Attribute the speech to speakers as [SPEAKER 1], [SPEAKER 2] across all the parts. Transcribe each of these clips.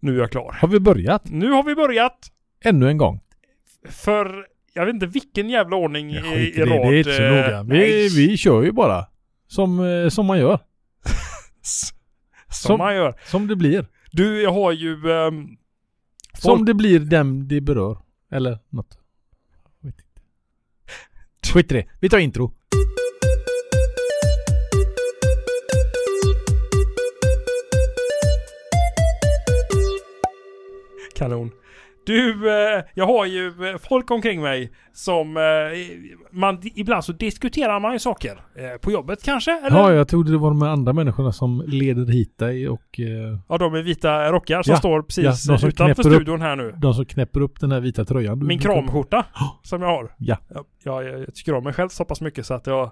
[SPEAKER 1] Nu är jag klar.
[SPEAKER 2] Har vi börjat?
[SPEAKER 1] Nu har vi börjat!
[SPEAKER 2] Ännu en gång?
[SPEAKER 1] För jag vet inte vilken jävla ordning
[SPEAKER 2] Jag
[SPEAKER 1] i, i
[SPEAKER 2] skiter i det,
[SPEAKER 1] rad.
[SPEAKER 2] det är inte så
[SPEAKER 1] eh,
[SPEAKER 2] noga.
[SPEAKER 1] nej.
[SPEAKER 2] Vi, vi kör ju bara. Som, eh, som man gör.
[SPEAKER 1] S- Som,
[SPEAKER 2] Som-
[SPEAKER 1] man gör.
[SPEAKER 2] Som det blir.
[SPEAKER 1] Du, jag har ju... ehm,
[SPEAKER 2] Som
[SPEAKER 1] folk-
[SPEAKER 2] det blir dem det berör. Eller något. Skit i det. Skit i det. Vi tar intro.
[SPEAKER 1] Kanon. Du, eh, jag har ju eh, folk omkring mig som... eh, Man, ibland så diskuterar man ju saker. Eh, På jobbet kanske? Eller?
[SPEAKER 2] Ja, jag trodde det var de här andra människorna som leder hit dig och eh,
[SPEAKER 1] Ja, de är vita rockar som
[SPEAKER 2] Ja,
[SPEAKER 1] står
[SPEAKER 2] ja,
[SPEAKER 1] precis
[SPEAKER 2] de som
[SPEAKER 1] utanför
[SPEAKER 2] knäpper upp.
[SPEAKER 1] studion här nu.
[SPEAKER 2] de som knäpper upp den här vita tröjan. du-
[SPEAKER 1] Min
[SPEAKER 2] du-
[SPEAKER 1] kramskjorta som jag har.
[SPEAKER 2] Ja.
[SPEAKER 1] Jag, jag, jag tycker om mig själv så pass mycket så att jag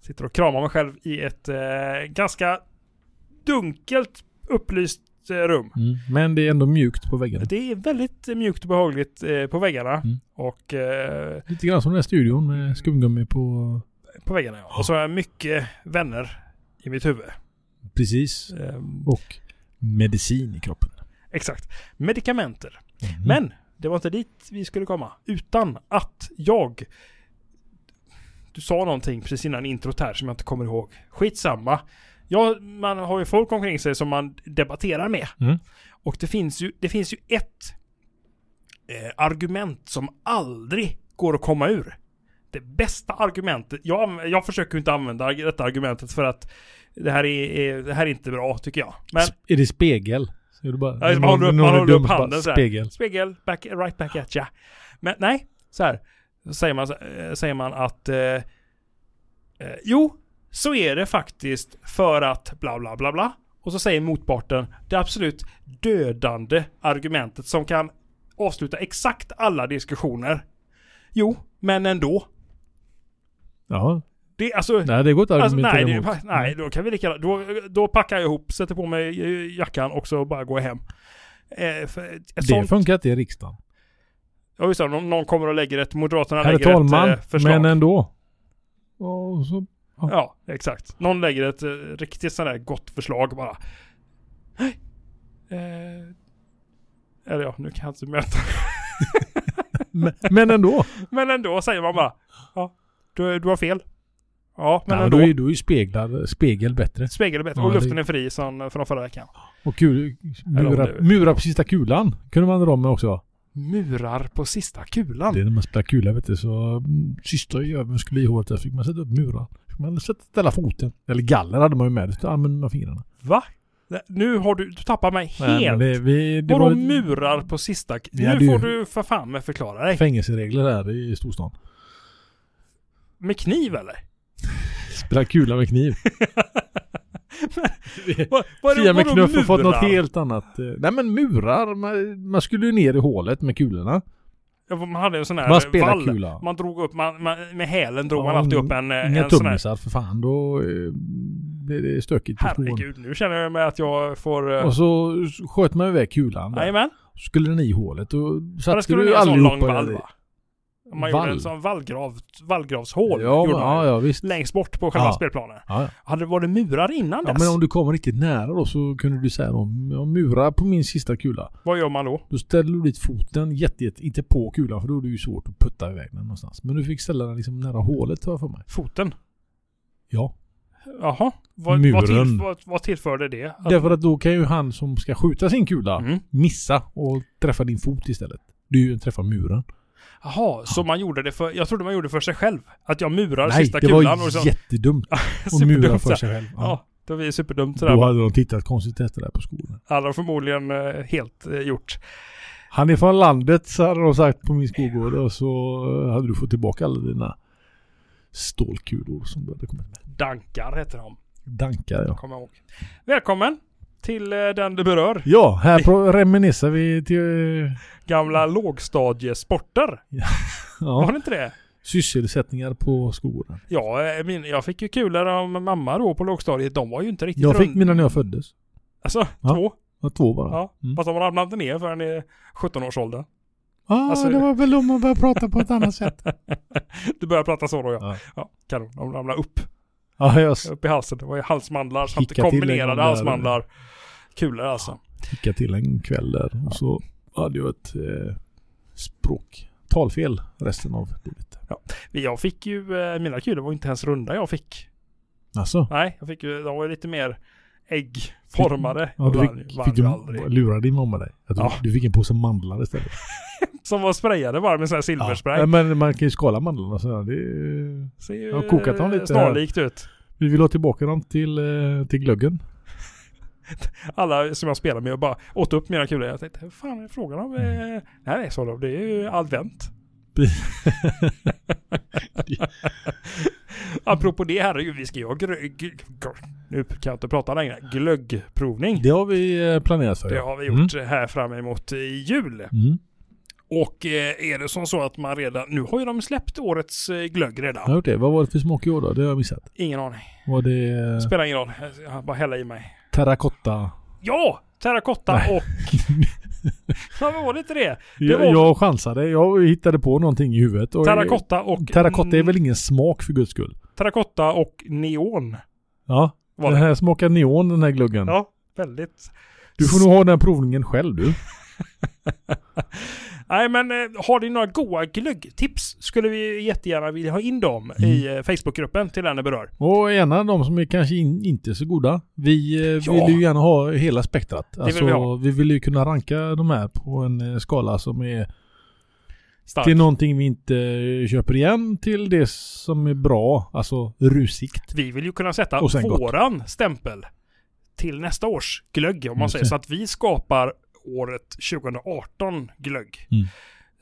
[SPEAKER 1] sitter och kramar mig själv i ett eh, ganska dunkelt upplyst eh, rum.
[SPEAKER 2] Mm. Men det är ändå mjukt på väggen.
[SPEAKER 1] Det är väldigt eh, mjukt och behagligt eh, på väggarna.
[SPEAKER 2] Mm.
[SPEAKER 1] Och eh,
[SPEAKER 2] Lite grann som den här studion med skumgummi på...
[SPEAKER 1] på väggarna
[SPEAKER 2] Oh.
[SPEAKER 1] ja. Och så har jag mycket vänner i mitt huvud.
[SPEAKER 2] Precis.
[SPEAKER 1] Eh,
[SPEAKER 2] Och medicin i kroppen.
[SPEAKER 1] exakt. Medikamenter.
[SPEAKER 2] Mm.
[SPEAKER 1] Men det var inte dit vi skulle komma. Utan att jag... Du sa någonting precis innan introt här som jag inte kommer ihåg. Skitsamma. Ja, man har ju folk omkring sig som man debatterar med.
[SPEAKER 2] Mm.
[SPEAKER 1] Och det finns ju, det finns ju ett eh, argument som aldrig går att komma ur. Det bästa argumentet. Jag, anv- jag försöker ju inte använda arg- detta argumentet för att det här är, är, det här är inte bra tycker jag. Men
[SPEAKER 2] Sp- Är det spegel? Så är det bara,
[SPEAKER 1] Ja, just,
[SPEAKER 2] när
[SPEAKER 1] man håller upp-
[SPEAKER 2] när
[SPEAKER 1] man
[SPEAKER 2] är
[SPEAKER 1] håller upp
[SPEAKER 2] dum så bara,
[SPEAKER 1] handen så här.
[SPEAKER 2] Spegel.
[SPEAKER 1] Spegel, back, right back at ya. Men nej, så här. Så säger man, eh, säger man att... Eh, eh, jo, så är det faktiskt för att bla bla bla bla. Och så säger motparten det absolut dödande argumentet som kan avsluta exakt alla diskussioner. Jo, men ändå.
[SPEAKER 2] Ja,
[SPEAKER 1] Det, alltså,
[SPEAKER 2] nej det går inte att
[SPEAKER 1] Alltså,
[SPEAKER 2] argumentera
[SPEAKER 1] nej, det, är ju
[SPEAKER 2] emot.
[SPEAKER 1] pa- nej, då kan vi lika gärna- då, då packar jag ihop, sätter på mig eh, jackan och så bara går jag hem. Eh, för ett
[SPEAKER 2] det
[SPEAKER 1] sånt,
[SPEAKER 2] funkar inte i riksdagen.
[SPEAKER 1] ja, just det, om någon kommer och lägger ett, Moderaterna
[SPEAKER 2] Herr
[SPEAKER 1] lägger
[SPEAKER 2] talman,
[SPEAKER 1] ett eh, förslag.
[SPEAKER 2] men ändå. Och så,
[SPEAKER 1] Ja, exakt. Någon lägger ett eh, riktigt sådär gott förslag bara. Nej. Eh, eller ja, nu kan jag inte möta.
[SPEAKER 2] men, men ändå.
[SPEAKER 1] Men ändå säger man bara, ja, du, du har fel. Ja, men
[SPEAKER 2] nej, men
[SPEAKER 1] ändå.
[SPEAKER 2] då är, då är ju speglar, spegel bättre.
[SPEAKER 1] Spegel är bättre.
[SPEAKER 2] Ja,
[SPEAKER 1] och
[SPEAKER 2] det-
[SPEAKER 1] luften är fri som från förra veckan.
[SPEAKER 2] Och kul,
[SPEAKER 1] Eller om
[SPEAKER 2] mura,
[SPEAKER 1] det-
[SPEAKER 2] mura på sista kulan kunde man dra med också.
[SPEAKER 1] Murar på sista kulan.
[SPEAKER 2] Det är när man spelar kula vet du. Så mm, sista öven skulle i håret där fick man sätta upp murar. Fick man sätta, ställa foten. Eller galler hade man ju med. Det använde man fingrarna.
[SPEAKER 1] Va? Nej, Nu har du, du tappat mig
[SPEAKER 2] Nej, men
[SPEAKER 1] helt.
[SPEAKER 2] det, vi, det
[SPEAKER 1] Vadå
[SPEAKER 2] var
[SPEAKER 1] murar på sista... k-
[SPEAKER 2] Vi hade
[SPEAKER 1] nu
[SPEAKER 2] ju-
[SPEAKER 1] får du för fan mig förklara dig.
[SPEAKER 2] fängelseregler där i storstan.
[SPEAKER 1] Med kniv eller?
[SPEAKER 2] Spela kula med kniv.
[SPEAKER 1] Vad, vad,
[SPEAKER 2] Fia med
[SPEAKER 1] vadå
[SPEAKER 2] knuff och fått något
[SPEAKER 1] murar?
[SPEAKER 2] helt annat. eh, Nej men murar, man, man skulle ju ner i hålet med kulorna.
[SPEAKER 1] Ja, Man hade en sån här
[SPEAKER 2] Man spelar
[SPEAKER 1] vall.
[SPEAKER 2] kula.
[SPEAKER 1] Man drog upp, man, man, med hälen drog
[SPEAKER 2] Ja,
[SPEAKER 1] man alltid upp en, eh,
[SPEAKER 2] Inga
[SPEAKER 1] en sån här...
[SPEAKER 2] tummisar för fan, då eh, blir det stökigt på skon.
[SPEAKER 1] Herregud, nu känner jag mig att jag får... eh,
[SPEAKER 2] Och så sköt man iväg kulan där.
[SPEAKER 1] Jajamän.
[SPEAKER 2] Så skulle den i hålet och
[SPEAKER 1] Men det
[SPEAKER 2] satte
[SPEAKER 1] skulle
[SPEAKER 2] du
[SPEAKER 1] du göra en sån lång
[SPEAKER 2] allihopa
[SPEAKER 1] vall
[SPEAKER 2] där i.
[SPEAKER 1] va? Man
[SPEAKER 2] Vall?
[SPEAKER 1] gjorde en sån vallgrav, vallgravshål.
[SPEAKER 2] Ja,
[SPEAKER 1] gjorde
[SPEAKER 2] men,
[SPEAKER 1] man ju.
[SPEAKER 2] ja, ja visst.
[SPEAKER 1] Längst bort på själva
[SPEAKER 2] Ja.
[SPEAKER 1] spelplanen.
[SPEAKER 2] Ja, ja.
[SPEAKER 1] Hade det varit murar innan
[SPEAKER 2] ja,
[SPEAKER 1] dess?
[SPEAKER 2] men om du kommer riktigt nära då så kunde du säga om jag murar på min sista kula.
[SPEAKER 1] Vad gör man då?
[SPEAKER 2] Då ställer du dit foten jätte, jätte, inte på kulan för då är det ju svårt att putta iväg den någonstans. Men du fick ställa den liksom nära hålet har jag för mig.
[SPEAKER 1] Foten?
[SPEAKER 2] Ja.
[SPEAKER 1] Jaha. Vad, Vad, till,
[SPEAKER 2] Muren.
[SPEAKER 1] vad, vad tillförde det? Att-
[SPEAKER 2] Därför att då kan ju han som ska skjuta sin kula
[SPEAKER 1] Mm.
[SPEAKER 2] missa och träffa din fot istället. Du är ju en träffa muren.
[SPEAKER 1] Jaha, så man gjorde det för... Jag trodde man gjorde det för sig själv. Att jag murar
[SPEAKER 2] Nej,
[SPEAKER 1] sista
[SPEAKER 2] det
[SPEAKER 1] kulan
[SPEAKER 2] var
[SPEAKER 1] och så...
[SPEAKER 2] jättedumt att
[SPEAKER 1] superdumt
[SPEAKER 2] mura för
[SPEAKER 1] såhär.
[SPEAKER 2] sig själv. Ja.
[SPEAKER 1] Ja, det var ju superdumt sådär.
[SPEAKER 2] Då hade de tittat konstigt efter det här på skolan.
[SPEAKER 1] Hade de förmodligen eh, helt eh, gjort.
[SPEAKER 2] Han är från landet, så hade de sagt på min skolgård. Och så eh, hade du fått tillbaka alla dina stålkulor som du hade kommit med.
[SPEAKER 1] Dankar heter de,
[SPEAKER 2] Dankar ja.
[SPEAKER 1] kommer jag ihåg. Välkommen till eh, den du berör.
[SPEAKER 2] Ja, här pro- reminiscer vi till eh,
[SPEAKER 1] Gamla lågstadiesporter. Var
[SPEAKER 2] ja,
[SPEAKER 1] det inte det?
[SPEAKER 2] sysselsättningar på skolgården.
[SPEAKER 1] Ja, eh, min, jag fick ju kulor av mamma då på lågstadiet. De var ju inte riktigt
[SPEAKER 2] Jag fick
[SPEAKER 1] rund-
[SPEAKER 2] mina när jag föddes.
[SPEAKER 1] Alltså,
[SPEAKER 2] Ja.
[SPEAKER 1] två.
[SPEAKER 2] Jag var två bara.
[SPEAKER 1] Ja.
[SPEAKER 2] Mm.
[SPEAKER 1] Fast de ramlade inte ner förrän i 17-årsåldern.
[SPEAKER 2] Ah,
[SPEAKER 1] Alltså-
[SPEAKER 2] det var väl om man började prata på ett annat sätt.
[SPEAKER 1] Du börjar prata så då ja.
[SPEAKER 2] Ja.
[SPEAKER 1] Ja, kanon. De ramlade upp.
[SPEAKER 2] Ja, jag s-
[SPEAKER 1] upp i halsen. Det var ju halsmandlar samt
[SPEAKER 2] Kicka till en gång
[SPEAKER 1] kombinerade
[SPEAKER 2] där.
[SPEAKER 1] halsmandlar. Kulor alltså.
[SPEAKER 2] Kicka till en kväll där. Och så hade jag ett eh, språk, talfel resten av livet.
[SPEAKER 1] Jag fick ju, eh, mina kulor var inte ens runda jag fick.
[SPEAKER 2] Alltså,
[SPEAKER 1] Nej, jag fick ju, de var ju lite mer äggformade.
[SPEAKER 2] ja,
[SPEAKER 1] Och
[SPEAKER 2] du
[SPEAKER 1] vann-
[SPEAKER 2] fick,
[SPEAKER 1] vann
[SPEAKER 2] fick
[SPEAKER 1] ju
[SPEAKER 2] du
[SPEAKER 1] aldrig.
[SPEAKER 2] lura din mamma dig? Att du,
[SPEAKER 1] Ja.
[SPEAKER 2] du fick en påse mandlar istället?
[SPEAKER 1] Som var sprayade bara med sån här silverspray.
[SPEAKER 2] Ja. Men man kan ju skala mandlarna så här. Det är...
[SPEAKER 1] Ser ju
[SPEAKER 2] Jag har kokat dem
[SPEAKER 1] eh,
[SPEAKER 2] lite här.
[SPEAKER 1] snarlikt ut.
[SPEAKER 2] Vi vill ha tillbaka dem till, eh, till glöggen.
[SPEAKER 1] Alla som jag spelade med och bara åt upp mina kulor. Jag tänkte, "Vad fan är frågan om? Mm. Nej, sa de, det är ju advent. Apropå det, herregud, vi ska ju ha grö- g- g- Nu kan jag inte prata längre. Glöggprovning.
[SPEAKER 2] Det har vi eh, planerat för.
[SPEAKER 1] Det har vi gjort här fram emot eh, jul.
[SPEAKER 2] Mm. Mm.
[SPEAKER 1] Och eh, är det som så att man redan... Nu har ju de släppt årets eh, glögg
[SPEAKER 2] Jag har
[SPEAKER 1] redan.
[SPEAKER 2] gjort det. Vad var det för smak i år då? Det har jag missat.
[SPEAKER 1] Ingen aning.
[SPEAKER 2] Var det eh,
[SPEAKER 1] Spelar ingen roll. Jag bara hälla i mig.
[SPEAKER 2] terrakotta?
[SPEAKER 1] Ja! Terrakotta
[SPEAKER 2] Nej.
[SPEAKER 1] och... Ja, men var det inte det?
[SPEAKER 2] Jag,
[SPEAKER 1] var-
[SPEAKER 2] jag chansade. Jag hittade på någonting i huvudet. Och
[SPEAKER 1] Terrakotta och...
[SPEAKER 2] Terrakotta är väl ingen smak för guds skull?
[SPEAKER 1] Terrakotta och
[SPEAKER 2] Mm.
[SPEAKER 1] neon.
[SPEAKER 2] Ja.
[SPEAKER 1] Var
[SPEAKER 2] Den
[SPEAKER 1] det.
[SPEAKER 2] här smakar neon den här gluggen.
[SPEAKER 1] Ja, väldigt.
[SPEAKER 2] Du får nog ha den här provningen själv du.
[SPEAKER 1] Nej men eh, har ni några goa glöggtips skulle vi jättegärna vilja ha in dem
[SPEAKER 2] Mm.
[SPEAKER 1] i eh, Facebookgruppen till den det berör.
[SPEAKER 2] Och gärna de som är kanske in, inte så goda. Vi eh,
[SPEAKER 1] Ja.
[SPEAKER 2] vill ju gärna ha hela spektrat. Alltså,
[SPEAKER 1] vi
[SPEAKER 2] vi,
[SPEAKER 1] ha.
[SPEAKER 2] vill ju kunna ranka de här på en eh, skala som är
[SPEAKER 1] Starkt.
[SPEAKER 2] till någonting vi inte eh, köper igen till det som är bra. Alltså rusigt.
[SPEAKER 1] Vi vill ju kunna sätta
[SPEAKER 2] Och sen gott.
[SPEAKER 1] våran stämpel till nästa års glögg om man
[SPEAKER 2] Just
[SPEAKER 1] säger
[SPEAKER 2] det.
[SPEAKER 1] så att vi skapar året 2018 glögg.
[SPEAKER 2] Mm.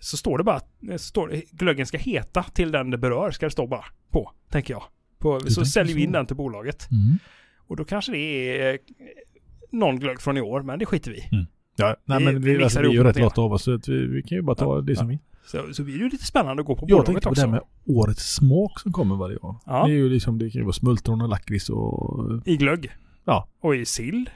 [SPEAKER 1] Så står det bara eh, så står det, glöggen ska heta till den det berör ska det stå bara på, tänker jag. På, så
[SPEAKER 2] tänker
[SPEAKER 1] säljer vi in
[SPEAKER 2] så.
[SPEAKER 1] den till bolaget. Och då kanske det är eh, någon glögg från i år, men det skiter vi i.
[SPEAKER 2] Ja, nej
[SPEAKER 1] Vi-
[SPEAKER 2] men
[SPEAKER 1] vi
[SPEAKER 2] vi,
[SPEAKER 1] mixar
[SPEAKER 2] alltså, vi är
[SPEAKER 1] ihop
[SPEAKER 2] ju rätt
[SPEAKER 1] någonting,
[SPEAKER 2] lotta av oss så att vi, vi kan ju bara ta
[SPEAKER 1] Ja,
[SPEAKER 2] det som vi.
[SPEAKER 1] Så, så blir det ju lite spännande att gå på
[SPEAKER 2] Jag
[SPEAKER 1] bolaget
[SPEAKER 2] tänkte på
[SPEAKER 1] också.
[SPEAKER 2] det här med årets smak som kommer varje år.
[SPEAKER 1] Ja.
[SPEAKER 2] Det är ju liksom, det kan ju vara smultron och lakrits och...
[SPEAKER 1] I glögg.
[SPEAKER 2] Ja.
[SPEAKER 1] Och i sill.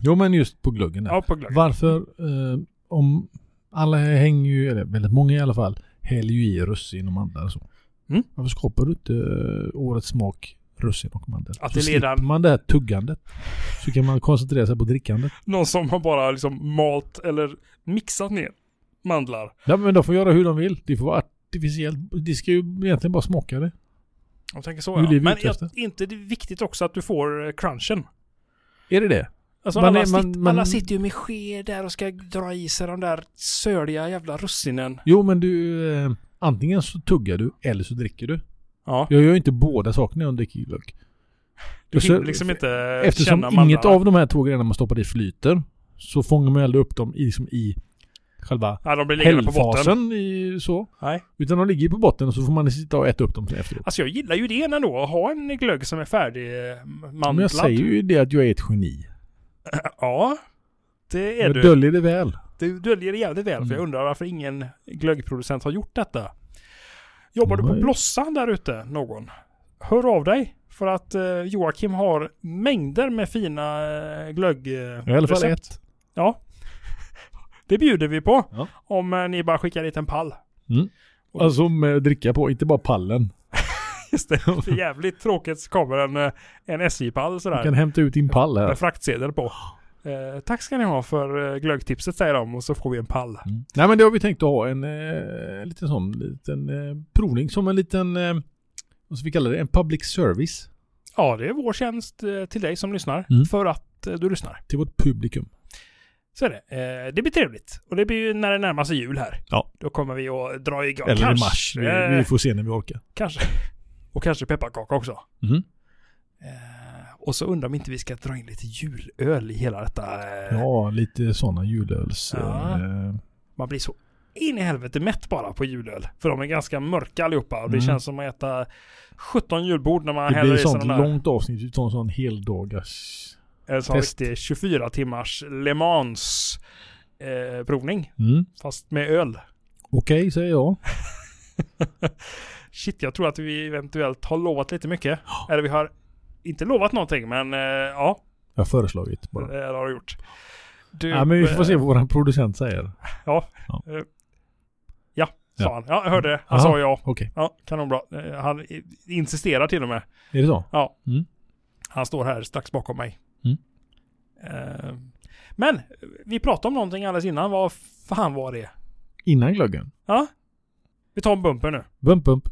[SPEAKER 2] Jo men just på gluggen där.
[SPEAKER 1] Ja, på glögg.
[SPEAKER 2] Varför, eh, om alla hänger ju, eller väldigt många i alla fall, häller ju i russin och mandlar och så.
[SPEAKER 1] Mm.
[SPEAKER 2] Varför skapar du inte eh, årets smak russin och mandel?
[SPEAKER 1] Att
[SPEAKER 2] så
[SPEAKER 1] det redan-
[SPEAKER 2] slipper man det här tuggandet. Så kan man koncentrera sig på drickandet.
[SPEAKER 1] Någon som har bara liksom malt eller mixat ner mandlar.
[SPEAKER 2] Ja men de får göra hur de vill. Det får vara artificiellt. Det ska ju egentligen bara smaka det.
[SPEAKER 1] Jag tänker så
[SPEAKER 2] Det är det
[SPEAKER 1] ja.
[SPEAKER 2] vi
[SPEAKER 1] Men
[SPEAKER 2] är ute
[SPEAKER 1] jag,
[SPEAKER 2] efter.
[SPEAKER 1] inte det är viktigt också att du får eh, crunchen.
[SPEAKER 2] Är det det?
[SPEAKER 1] Alltså
[SPEAKER 2] Man
[SPEAKER 1] alla,
[SPEAKER 2] är- man-
[SPEAKER 1] sitt,
[SPEAKER 2] man-
[SPEAKER 1] alla sitter ju med sked där och ska dra i sig de där söliga jävla russinen.
[SPEAKER 2] Jo men du, eh, antingen så tuggar du eller så dricker du.
[SPEAKER 1] Ja.
[SPEAKER 2] Jag gör ju inte båda sakerna när jag dricker glögg.
[SPEAKER 1] Du
[SPEAKER 2] Och så-
[SPEAKER 1] hinner liksom inte
[SPEAKER 2] Eftersom
[SPEAKER 1] känna
[SPEAKER 2] inget
[SPEAKER 1] mandlarna.
[SPEAKER 2] av de här två grejerna man stoppar i flyter så fångar man ju aldrig upp dem i, liksom i själva
[SPEAKER 1] Nej, de blir liggande på botten.
[SPEAKER 2] hällfasen. I, så.
[SPEAKER 1] Nej.
[SPEAKER 2] Utan de ligger på botten och så får man sitta och äta upp dem efteråt.
[SPEAKER 1] Alltså jag gillar ju det ändå, att ha en glögg som är färdig eh, mandlad.
[SPEAKER 2] Men jag säger ju det att jag är ett geni.
[SPEAKER 1] Ja. Det är
[SPEAKER 2] Jag
[SPEAKER 1] du.
[SPEAKER 2] döljer det väl.
[SPEAKER 1] Du döljer det jävligt väl, för jag
[SPEAKER 2] Mm.
[SPEAKER 1] undrar varför ingen glöggproducent har gjort detta. Jobbar du på
[SPEAKER 2] Nej.
[SPEAKER 1] Blossan där ute, någon? Hör av dig, för att eh, Joakim har mängder med fina eh, glögg eh,
[SPEAKER 2] Jag har I alla fall
[SPEAKER 1] recept.
[SPEAKER 2] ett.
[SPEAKER 1] Det bjuder vi på,
[SPEAKER 2] Ja.
[SPEAKER 1] om eh, ni bara skickar dit en pall.
[SPEAKER 2] Alltså med dricka på, inte bara pallen.
[SPEAKER 1] Just det, för jävligt tråkigt så kommer en, eh, en SJ-pall
[SPEAKER 2] Du
[SPEAKER 1] sådär,
[SPEAKER 2] kan hämta ut din pall här.
[SPEAKER 1] med fraktsedel på. Eh, tack ska ni ha för eh, glöggtipset säger de, och så får vi en pall.
[SPEAKER 2] Mm. Nej men det har vi tänkt att ha en eh, liten sån liten eh, provning som en liten, eh, vad ska vi kalla det, en public service
[SPEAKER 1] Ja, det är vår tjänst eh, till dig som lyssnar,
[SPEAKER 2] Mm.
[SPEAKER 1] för att eh, du lyssnar.
[SPEAKER 2] till vårt publikum.
[SPEAKER 1] Så är det. Eh, det blir trevligt. Och det blir ju när det närmar sig jul här.
[SPEAKER 2] Ja.
[SPEAKER 1] Då kommer vi att dra igång.
[SPEAKER 2] Eller
[SPEAKER 1] kanske,
[SPEAKER 2] i mars, vi,
[SPEAKER 1] eh,
[SPEAKER 2] vi får se när vi orkar.
[SPEAKER 1] Kanske. Och kanske pepparkaka också.
[SPEAKER 2] Mhm.
[SPEAKER 1] Eh, och så undrar om inte vi ska dra in lite julöl i hela detta. Eh,
[SPEAKER 2] Ja, lite sådana julöls...
[SPEAKER 1] Ja.
[SPEAKER 2] Eh,
[SPEAKER 1] Man blir så in i helvete mätt bara på julöl. För de är ganska mörka allihopa. Och det
[SPEAKER 2] Mm.
[SPEAKER 1] känns som att äta 17 julbord när man
[SPEAKER 2] det
[SPEAKER 1] häller
[SPEAKER 2] blir
[SPEAKER 1] i
[SPEAKER 2] ett
[SPEAKER 1] sig
[SPEAKER 2] sånt
[SPEAKER 1] den där.
[SPEAKER 2] långt avsnitt utan sån heldagars...
[SPEAKER 1] En sån
[SPEAKER 2] test.
[SPEAKER 1] riktig 24 timmars Le Mans eh, provning.
[SPEAKER 2] Mm.
[SPEAKER 1] Fast med öl.
[SPEAKER 2] Okej, säger jag.
[SPEAKER 1] Shit, jag tror att vi eventuellt har lovat lite mycket. Eller vi har inte lovat någonting, men eh, ja,
[SPEAKER 2] Jag har föreslagit
[SPEAKER 1] det
[SPEAKER 2] bara.
[SPEAKER 1] har vi gjort. Du,
[SPEAKER 2] Ja, men vi får se
[SPEAKER 1] eh,
[SPEAKER 2] vad vår producent säger.
[SPEAKER 1] Sa
[SPEAKER 2] Ja.
[SPEAKER 1] han. Ja, jag hörde det. Han
[SPEAKER 2] Aha.
[SPEAKER 1] sa ja.
[SPEAKER 2] Okej,
[SPEAKER 1] Ja, kanonbra. Eh, Han i- insisterar till och med.
[SPEAKER 2] är det så?
[SPEAKER 1] Ja.
[SPEAKER 2] Mm.
[SPEAKER 1] Han står här strax bakom mig.
[SPEAKER 2] Mm.
[SPEAKER 1] Eh, Men vi pratade om någonting alldeles innan. Vad fan var det?
[SPEAKER 2] Innan glöggen.
[SPEAKER 1] Ja? Vi tar en bumper nu.
[SPEAKER 2] Bump, bump.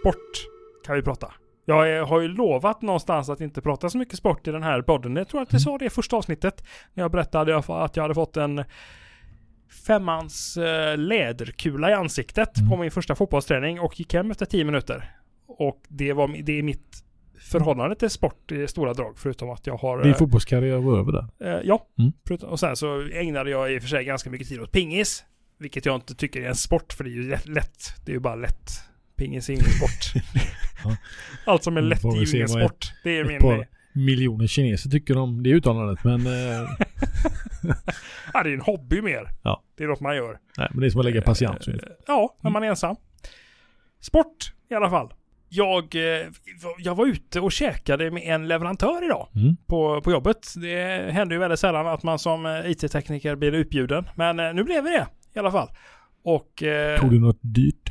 [SPEAKER 1] Sport kan vi prata. Jag eh, har ju lovat någonstans att inte prata så mycket sport i den här podden. Jag tror att jag sa det i första avsnittet. När jag berättade jag fa- att jag hade fått en femmans eh, läderkula i ansiktet
[SPEAKER 2] Mm.
[SPEAKER 1] på min första fotbollsträning och gick hem efter tio minuter. Och det, var, mi- det är mitt förhållande till sport i stora drag. Förutom att jag har...
[SPEAKER 2] Din
[SPEAKER 1] eh,
[SPEAKER 2] fotbollskarriär var över där.
[SPEAKER 1] Eh, ja,
[SPEAKER 2] Mm.
[SPEAKER 1] Förutom- och sen så ägnade jag i och för sig ganska mycket tid åt pingis. Vilket jag inte tycker är en sport, för det är ju lätt. lätt. Det är ju bara lätt. Pingis är ingen sport.
[SPEAKER 2] Ja.
[SPEAKER 1] Allt som är
[SPEAKER 2] Mm,
[SPEAKER 1] lätt
[SPEAKER 2] får
[SPEAKER 1] är
[SPEAKER 2] vi
[SPEAKER 1] ju
[SPEAKER 2] se
[SPEAKER 1] ingen
[SPEAKER 2] vad ett-
[SPEAKER 1] sport. Det är
[SPEAKER 2] ett
[SPEAKER 1] min
[SPEAKER 2] par-
[SPEAKER 1] grej.
[SPEAKER 2] Miljoner kineser tycker om det uttalandet, men... Eh,
[SPEAKER 1] Ja, det är en hobby mer.
[SPEAKER 2] Ja. Mm.
[SPEAKER 1] Det är något man gör.
[SPEAKER 2] nej, men det är som att lägga patiens.
[SPEAKER 1] Eh, Ja, när man är ensam. Sport i alla fall. Jag, eh, jag var ute och käkade med en leverantör idag.
[SPEAKER 2] Mm.
[SPEAKER 1] på, på jobbet. Det händer ju väldigt sällan att man som eh, IT-tekniker blir utbjuden. Men eh, nu blev vi det i alla fall. Och... Eh,
[SPEAKER 2] Tog du något dyrt?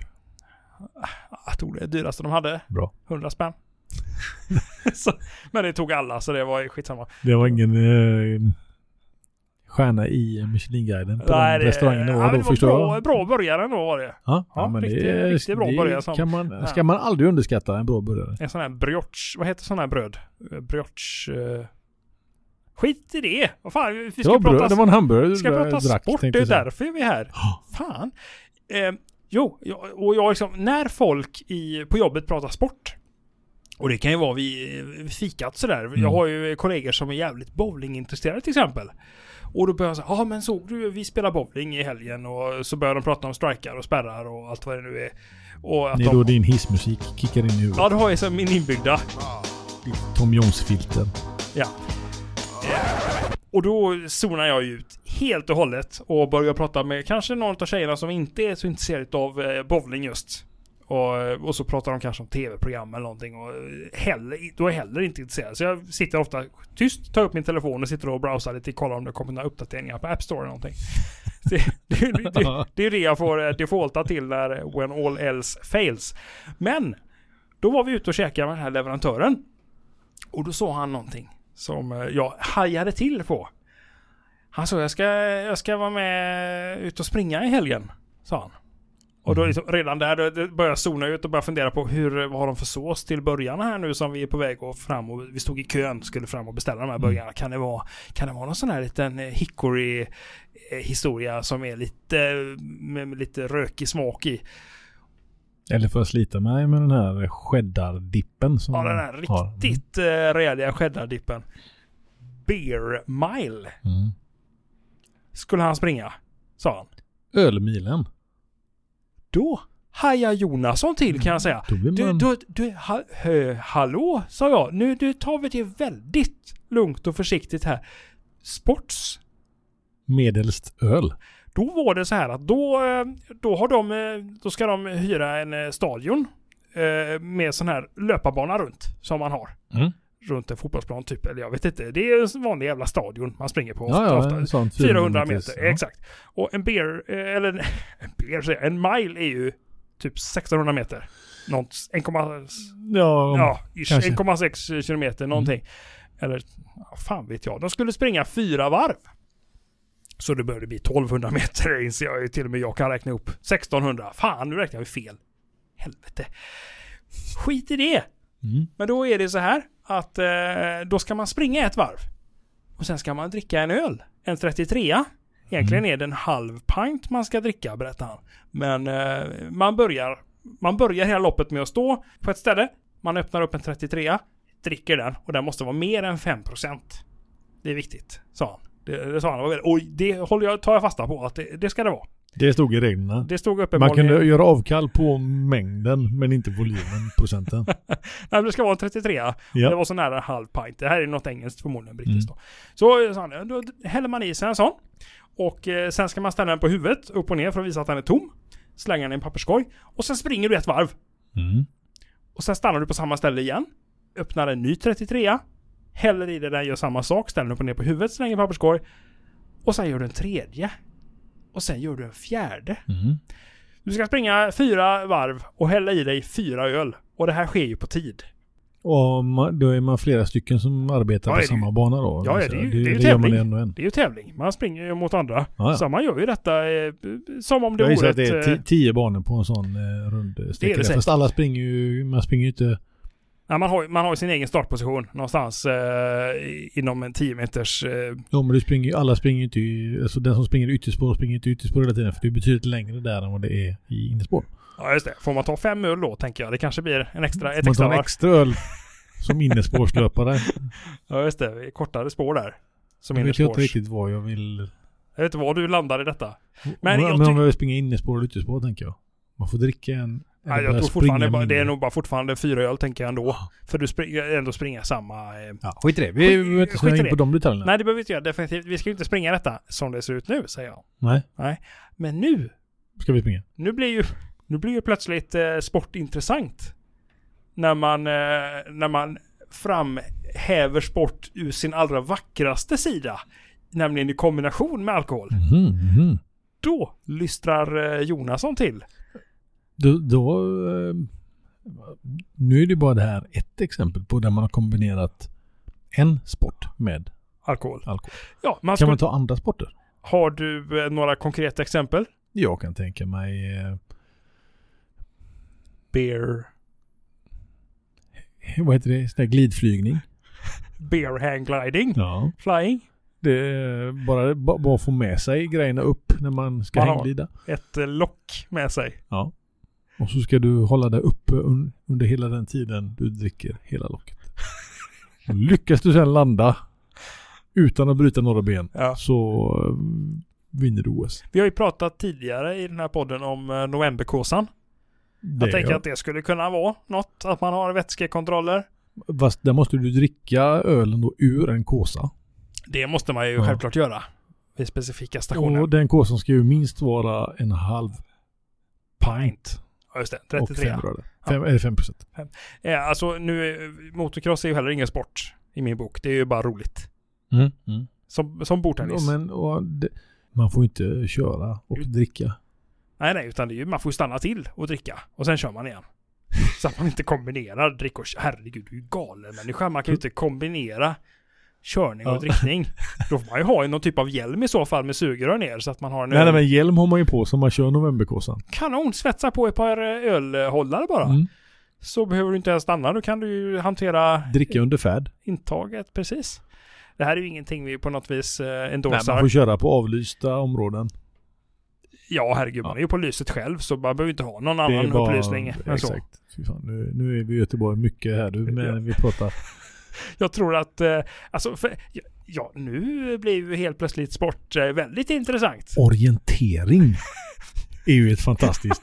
[SPEAKER 1] jag tog det dyraste de hade.
[SPEAKER 2] Bra.
[SPEAKER 1] 100 spänn. så, men det tog alla så det var skitsamma.
[SPEAKER 2] Det var ingen eh, stjärna i Michelinguiden på
[SPEAKER 1] Nej,
[SPEAKER 2] de restaurangerna
[SPEAKER 1] ja,
[SPEAKER 2] var
[SPEAKER 1] det
[SPEAKER 2] då, förstår jag.
[SPEAKER 1] bra, bra början ändå var det.
[SPEAKER 2] Ja,
[SPEAKER 1] Ja,
[SPEAKER 2] ja, men
[SPEAKER 1] riktigt-
[SPEAKER 2] det, är-
[SPEAKER 1] riktigt bra
[SPEAKER 2] det
[SPEAKER 1] början som-
[SPEAKER 2] kan
[SPEAKER 1] ja.
[SPEAKER 2] man, ska man aldrig underskatta en bra burgare.
[SPEAKER 1] En sån här brioche. Vad heter sån här bröd? Eh, Brioche... Eh, skit i det! Vad fan, vi
[SPEAKER 2] Det
[SPEAKER 1] ska
[SPEAKER 2] var,
[SPEAKER 1] prata...
[SPEAKER 2] bröd, det var en hamburgare du
[SPEAKER 1] Ska
[SPEAKER 2] dra-
[SPEAKER 1] prata
[SPEAKER 2] drack,
[SPEAKER 1] sport, det
[SPEAKER 2] tänkte
[SPEAKER 1] är
[SPEAKER 2] jag säga.
[SPEAKER 1] därför är vi här.
[SPEAKER 2] Ja.
[SPEAKER 1] Fan. Eh, jo, jag- och jag liksom, när folk i, på jobbet pratar sport, och det kan ju vara vid eh, vid fikat sådär.
[SPEAKER 2] Mm.
[SPEAKER 1] Jag har ju kollegor som är jävligt bowlingintresserade till exempel. Och då börjar jag säga, ja men såg du, vi spelar bowling i helgen och så börjar de prata om strikar och spärrar och allt vad det nu är. Och att
[SPEAKER 2] Det är då
[SPEAKER 1] de,
[SPEAKER 2] din hissmusik kickar in i huvudet.
[SPEAKER 1] ja, det har jag som min inbyggda.
[SPEAKER 2] Ditt Tom Jones-filter.
[SPEAKER 1] Ja. Eh, Och då zonar jag ut helt och hållet och börjar prata med kanske någon av tjejerna som inte är så intresserade av eh, bowling just. Och, eh, och så pratar de kanske om tv-program eller någonting och eh, heller, då är jag heller inte intresserad. Så jag sitter ofta tyst, tar upp min telefon och sitter och browsar lite, kollar om det kommer några uppdateringar på App Store eller någonting. Det, det, det, det, det är det jag får eh, defaulta till när eh, when all else fails. Men då var vi ute och käkade med den här leverantören. Och då sa han någonting som eh, jag hajade till på. Han sa jag ska, jag ska vara med ut och springa i helgen. Sa han. Och då liksom, redan där då- då började jag zona ut och började fundera på hur, vad har de för sås till burgarna här nu som vi är på väg att fram och vi stod i kön skulle fram och beställa de här burgarna. Kan det vara, kan det vara någon sån här liten eh, hickory eh, historia som är lite, med, med lite rökig smak i?
[SPEAKER 2] Eller får jag slita mig med den här cheddardippen som
[SPEAKER 1] Ja, den här
[SPEAKER 2] de har? Mm.
[SPEAKER 1] riktigt eh, rejäla cheddardippen. Beer mile
[SPEAKER 2] Mm. Mm.
[SPEAKER 1] skulle han springa, sa han.
[SPEAKER 2] Ölmilen.
[SPEAKER 1] Då hajar Jonasson till kan jag säga.
[SPEAKER 2] Då blir
[SPEAKER 1] Du,
[SPEAKER 2] man...
[SPEAKER 1] du, du, ha, hö, hallå, sa jag. Nu du tar vi det väldigt lugnt och försiktigt här. Sports
[SPEAKER 2] medelst öl.
[SPEAKER 1] Då var det så här att då, eh, då, har de, eh, då ska de hyra en eh, stadion eh, med sån här löparbana runt som man har.
[SPEAKER 2] Mm.
[SPEAKER 1] Runt en fotbollsplan typ, eller jag vet inte. Det är en vanlig jävla stadion man springer på.
[SPEAKER 2] Ja, ja,
[SPEAKER 1] ofta.
[SPEAKER 2] en sån
[SPEAKER 1] 400 meter,
[SPEAKER 2] Ja.
[SPEAKER 1] exakt. Och en beer, eh, eller en, en beer, säger jag, en mile är ju typ 1600 meter. Något, 1,6
[SPEAKER 2] Ja,
[SPEAKER 1] ja, ish,
[SPEAKER 2] kanske. Mm.
[SPEAKER 1] 1,6 kilometer någonting. Eller, ja, fan vet jag. De skulle springa fyra varv. Så det började bli 1200 meter, det inser jag ju. Till och med jag kan räkna upp. 1600. Fan, nu räknar jag ju fel. Helvete. Skit i det.
[SPEAKER 2] Mm.
[SPEAKER 1] Men då är det så här att eh, då ska man springa ett varv. Och sen ska man dricka en öl. En 33 Egentligen
[SPEAKER 2] Mm.
[SPEAKER 1] är det en halv pint man ska dricka, berättar han. Men eh, man, börjar, man börjar hela loppet med att stå på ett ställe. Man öppnar upp en 33 dricker den och den måste vara mer än 5%. Det är viktigt, sa han. Det, det sa han. Det var väldigt- Och det håller jag, tar jag fasta på att det, det ska det vara.
[SPEAKER 2] Det stod i reglerna.
[SPEAKER 1] Det stod
[SPEAKER 2] Man
[SPEAKER 1] uppenbarligen...
[SPEAKER 2] kunde göra avkall på mängden men inte volymen, procenten.
[SPEAKER 1] Nej, men det ska vara en 33 Det
[SPEAKER 2] Ja.
[SPEAKER 1] var så nära en halv pint. Det här är något engelskt, förmodligen brittiskt då.
[SPEAKER 2] Mm.
[SPEAKER 1] Så sa han, då häller man i sig en sån. Och eh, sen ska man ställa den på huvudet, upp och ner för att visa att den är tom. Slänga den i en papperskorg. Och sen springer du ett varv.
[SPEAKER 2] Mm.
[SPEAKER 1] Och sen stannar du på samma ställe igen. Öppnar en ny 33 Häller i det där, gör samma sak. Ställer den upp och ner på huvudet, slänger i en papperskorg. Och sen gör du en tredje. Och sen gör du en fjärde.
[SPEAKER 2] Mm.
[SPEAKER 1] Du ska springa fyra varv och hälla i dig fyra öl. Och det här sker ju på tid.
[SPEAKER 2] Och man, då är man flera stycken som arbetar
[SPEAKER 1] Ja,
[SPEAKER 2] på
[SPEAKER 1] det är
[SPEAKER 2] samma bana då?
[SPEAKER 1] Ja, ja,
[SPEAKER 2] Så
[SPEAKER 1] det är ju- det är ju
[SPEAKER 2] gör man
[SPEAKER 1] tävling.
[SPEAKER 2] en och en.
[SPEAKER 1] Det är ju tävling. Man springer ju mot andra.
[SPEAKER 2] Ja, ja.
[SPEAKER 1] Så man gör ju detta eh, som om det
[SPEAKER 2] Jag gissar
[SPEAKER 1] vore
[SPEAKER 2] att det är
[SPEAKER 1] ett...
[SPEAKER 2] ti-
[SPEAKER 1] eh,
[SPEAKER 2] tio banor på en sån eh, rundsträcka. där.
[SPEAKER 1] säkert.
[SPEAKER 2] Fast alla springer ju, man springer ju inte...
[SPEAKER 1] nej, man, har, ju- man har ju sin egen startposition någonstans eh, i- inom en 10 meters... Eh,
[SPEAKER 2] Jo men du springer ju, alla springer ju inte i, alltså den som springer i ytterspår springer inte i ytterspår hela tiden för det är betydligt längre där än vad det är i innespår.
[SPEAKER 1] ja, just det. Får man ta fem öl då, tänker jag. Det kanske blir en extra... Ett
[SPEAKER 2] Man
[SPEAKER 1] extra
[SPEAKER 2] tar en
[SPEAKER 1] varv.
[SPEAKER 2] extra öl som innespårslöpare.
[SPEAKER 1] Ja, just det. Kortare spår där. Som
[SPEAKER 2] Jag vet jag inte
[SPEAKER 1] innerspårs.
[SPEAKER 2] riktigt vad jag vill...
[SPEAKER 1] Jag vet inte var du landar i detta.
[SPEAKER 2] Men,
[SPEAKER 1] jag
[SPEAKER 2] om, men
[SPEAKER 1] ty-
[SPEAKER 2] om jag vill springa innespår eller ytterspår tänker jag. Man får dricka en...
[SPEAKER 1] Nej,
[SPEAKER 2] eller
[SPEAKER 1] jag
[SPEAKER 2] börja
[SPEAKER 1] tror fortfarande
[SPEAKER 2] springa
[SPEAKER 1] bara, det är
[SPEAKER 2] mindre.
[SPEAKER 1] nog bara fortfarande fyra öl tänker jag ändå. För du springer ändå springa samma... Eh.
[SPEAKER 2] Ja, skit i det. Vi vi behöver inte
[SPEAKER 1] Skit
[SPEAKER 2] snöa
[SPEAKER 1] i
[SPEAKER 2] in
[SPEAKER 1] det.
[SPEAKER 2] på de detaljerna.
[SPEAKER 1] Nej, det behöver vi inte göra. Definitivt. Vi ska ju inte springa detta som det ser ut nu, säger jag.
[SPEAKER 2] Nej.
[SPEAKER 1] Men nu
[SPEAKER 2] Ska vi springa?
[SPEAKER 1] Nu blir ju, nu blir ju plötsligt eh, sport intressant. När man, eh, när man framhäver sport ur sin allra vackraste sida. Nämligen i kombination med alkohol.
[SPEAKER 2] Mhm, mhm.
[SPEAKER 1] Då lystrar eh, Jonasson till.
[SPEAKER 2] Då, då, eh, nu är det bara det här ett exempel på där man har kombinerat en sport med
[SPEAKER 1] Alkohol.
[SPEAKER 2] alkohol.
[SPEAKER 1] Ja, man
[SPEAKER 2] Kan
[SPEAKER 1] skulle,
[SPEAKER 2] man ta andra sporter?
[SPEAKER 1] Har du eh, några konkreta exempel?
[SPEAKER 2] Jag kan tänka mig eh,
[SPEAKER 1] Beer.
[SPEAKER 2] vad heter det? Sån där glidflygning.
[SPEAKER 1] Beer hang gliding.
[SPEAKER 2] Ja.
[SPEAKER 1] Flying.
[SPEAKER 2] Det är bara, ba- bara få med sig grejerna upp när man ska
[SPEAKER 1] Man har-
[SPEAKER 2] hänglida.
[SPEAKER 1] Ett eh, lock med sig.
[SPEAKER 2] Ja. Och så ska du hålla det uppe un, under hela den tiden du dricker hela locket. Och lyckas du sedan landa utan att bryta några ben
[SPEAKER 1] Ja.
[SPEAKER 2] så eh, vinner du OS.
[SPEAKER 1] Vi har ju pratat tidigare i den här podden om eh, novemberkåsan.
[SPEAKER 2] Det,
[SPEAKER 1] Jag tänker att det skulle kunna vara något. Att man har vätskekontroller.
[SPEAKER 2] Fast där måste du dricka ölen då ur en kåsa.
[SPEAKER 1] Det måste man ju
[SPEAKER 2] Ja.
[SPEAKER 1] självklart göra. Vid specifika stationer.
[SPEAKER 2] Och den kåsan ska ju minst vara en halv
[SPEAKER 1] Pint. Ja, just det.
[SPEAKER 2] och
[SPEAKER 1] 33.
[SPEAKER 2] fem röre. Fem, Eller fem procent.
[SPEAKER 1] Ja, alltså nu, är- motocross är ju heller ingen sport i min bok. Det är ju bara roligt.
[SPEAKER 2] Mm.
[SPEAKER 1] Som, som bordtennis.
[SPEAKER 2] Ja, men, och det, man får inte köra och
[SPEAKER 1] Ut.
[SPEAKER 2] dricka.
[SPEAKER 1] Nej, nej, utan det är ju, man får ju stanna till och dricka. Och sen kör man igen. Så att man inte kombinerar drick och Herregud, du är ju galen människa. Man kan ju inte kombinera körning och
[SPEAKER 2] Ja.
[SPEAKER 1] drickning. Då får man ju ha någon typ av hjälm i så fall med sugrör ner så att man har en
[SPEAKER 2] Nej,
[SPEAKER 1] öl.
[SPEAKER 2] nej, men hjälm har man ju på som man kör novemberkåsan.
[SPEAKER 1] Kanon, svetsa på ett par eh, ölhållare bara.
[SPEAKER 2] Mm.
[SPEAKER 1] Så behöver du inte ens stanna. Då kan du ju hantera
[SPEAKER 2] Dricka under färd.
[SPEAKER 1] intaget, precis. Det här är ju ingenting vi på något vis eh,
[SPEAKER 2] Nej,
[SPEAKER 1] endorsar.
[SPEAKER 2] man får köra på avlysta områden.
[SPEAKER 1] Ja, herregud, man
[SPEAKER 2] Ja.
[SPEAKER 1] är ju på lyset själv så man behöver inte ha någon annan upplysning. än så.
[SPEAKER 2] Exakt. Fy fan, nu, nu är vi i Göteborg mycket här du, men
[SPEAKER 1] Ja.
[SPEAKER 2] vi pratar.
[SPEAKER 1] Jag tror att, eh, alltså, för, ja, ja, nu blir ju helt plötsligt sport eh, väldigt intressant.
[SPEAKER 2] Orientering är ju ett fantastiskt.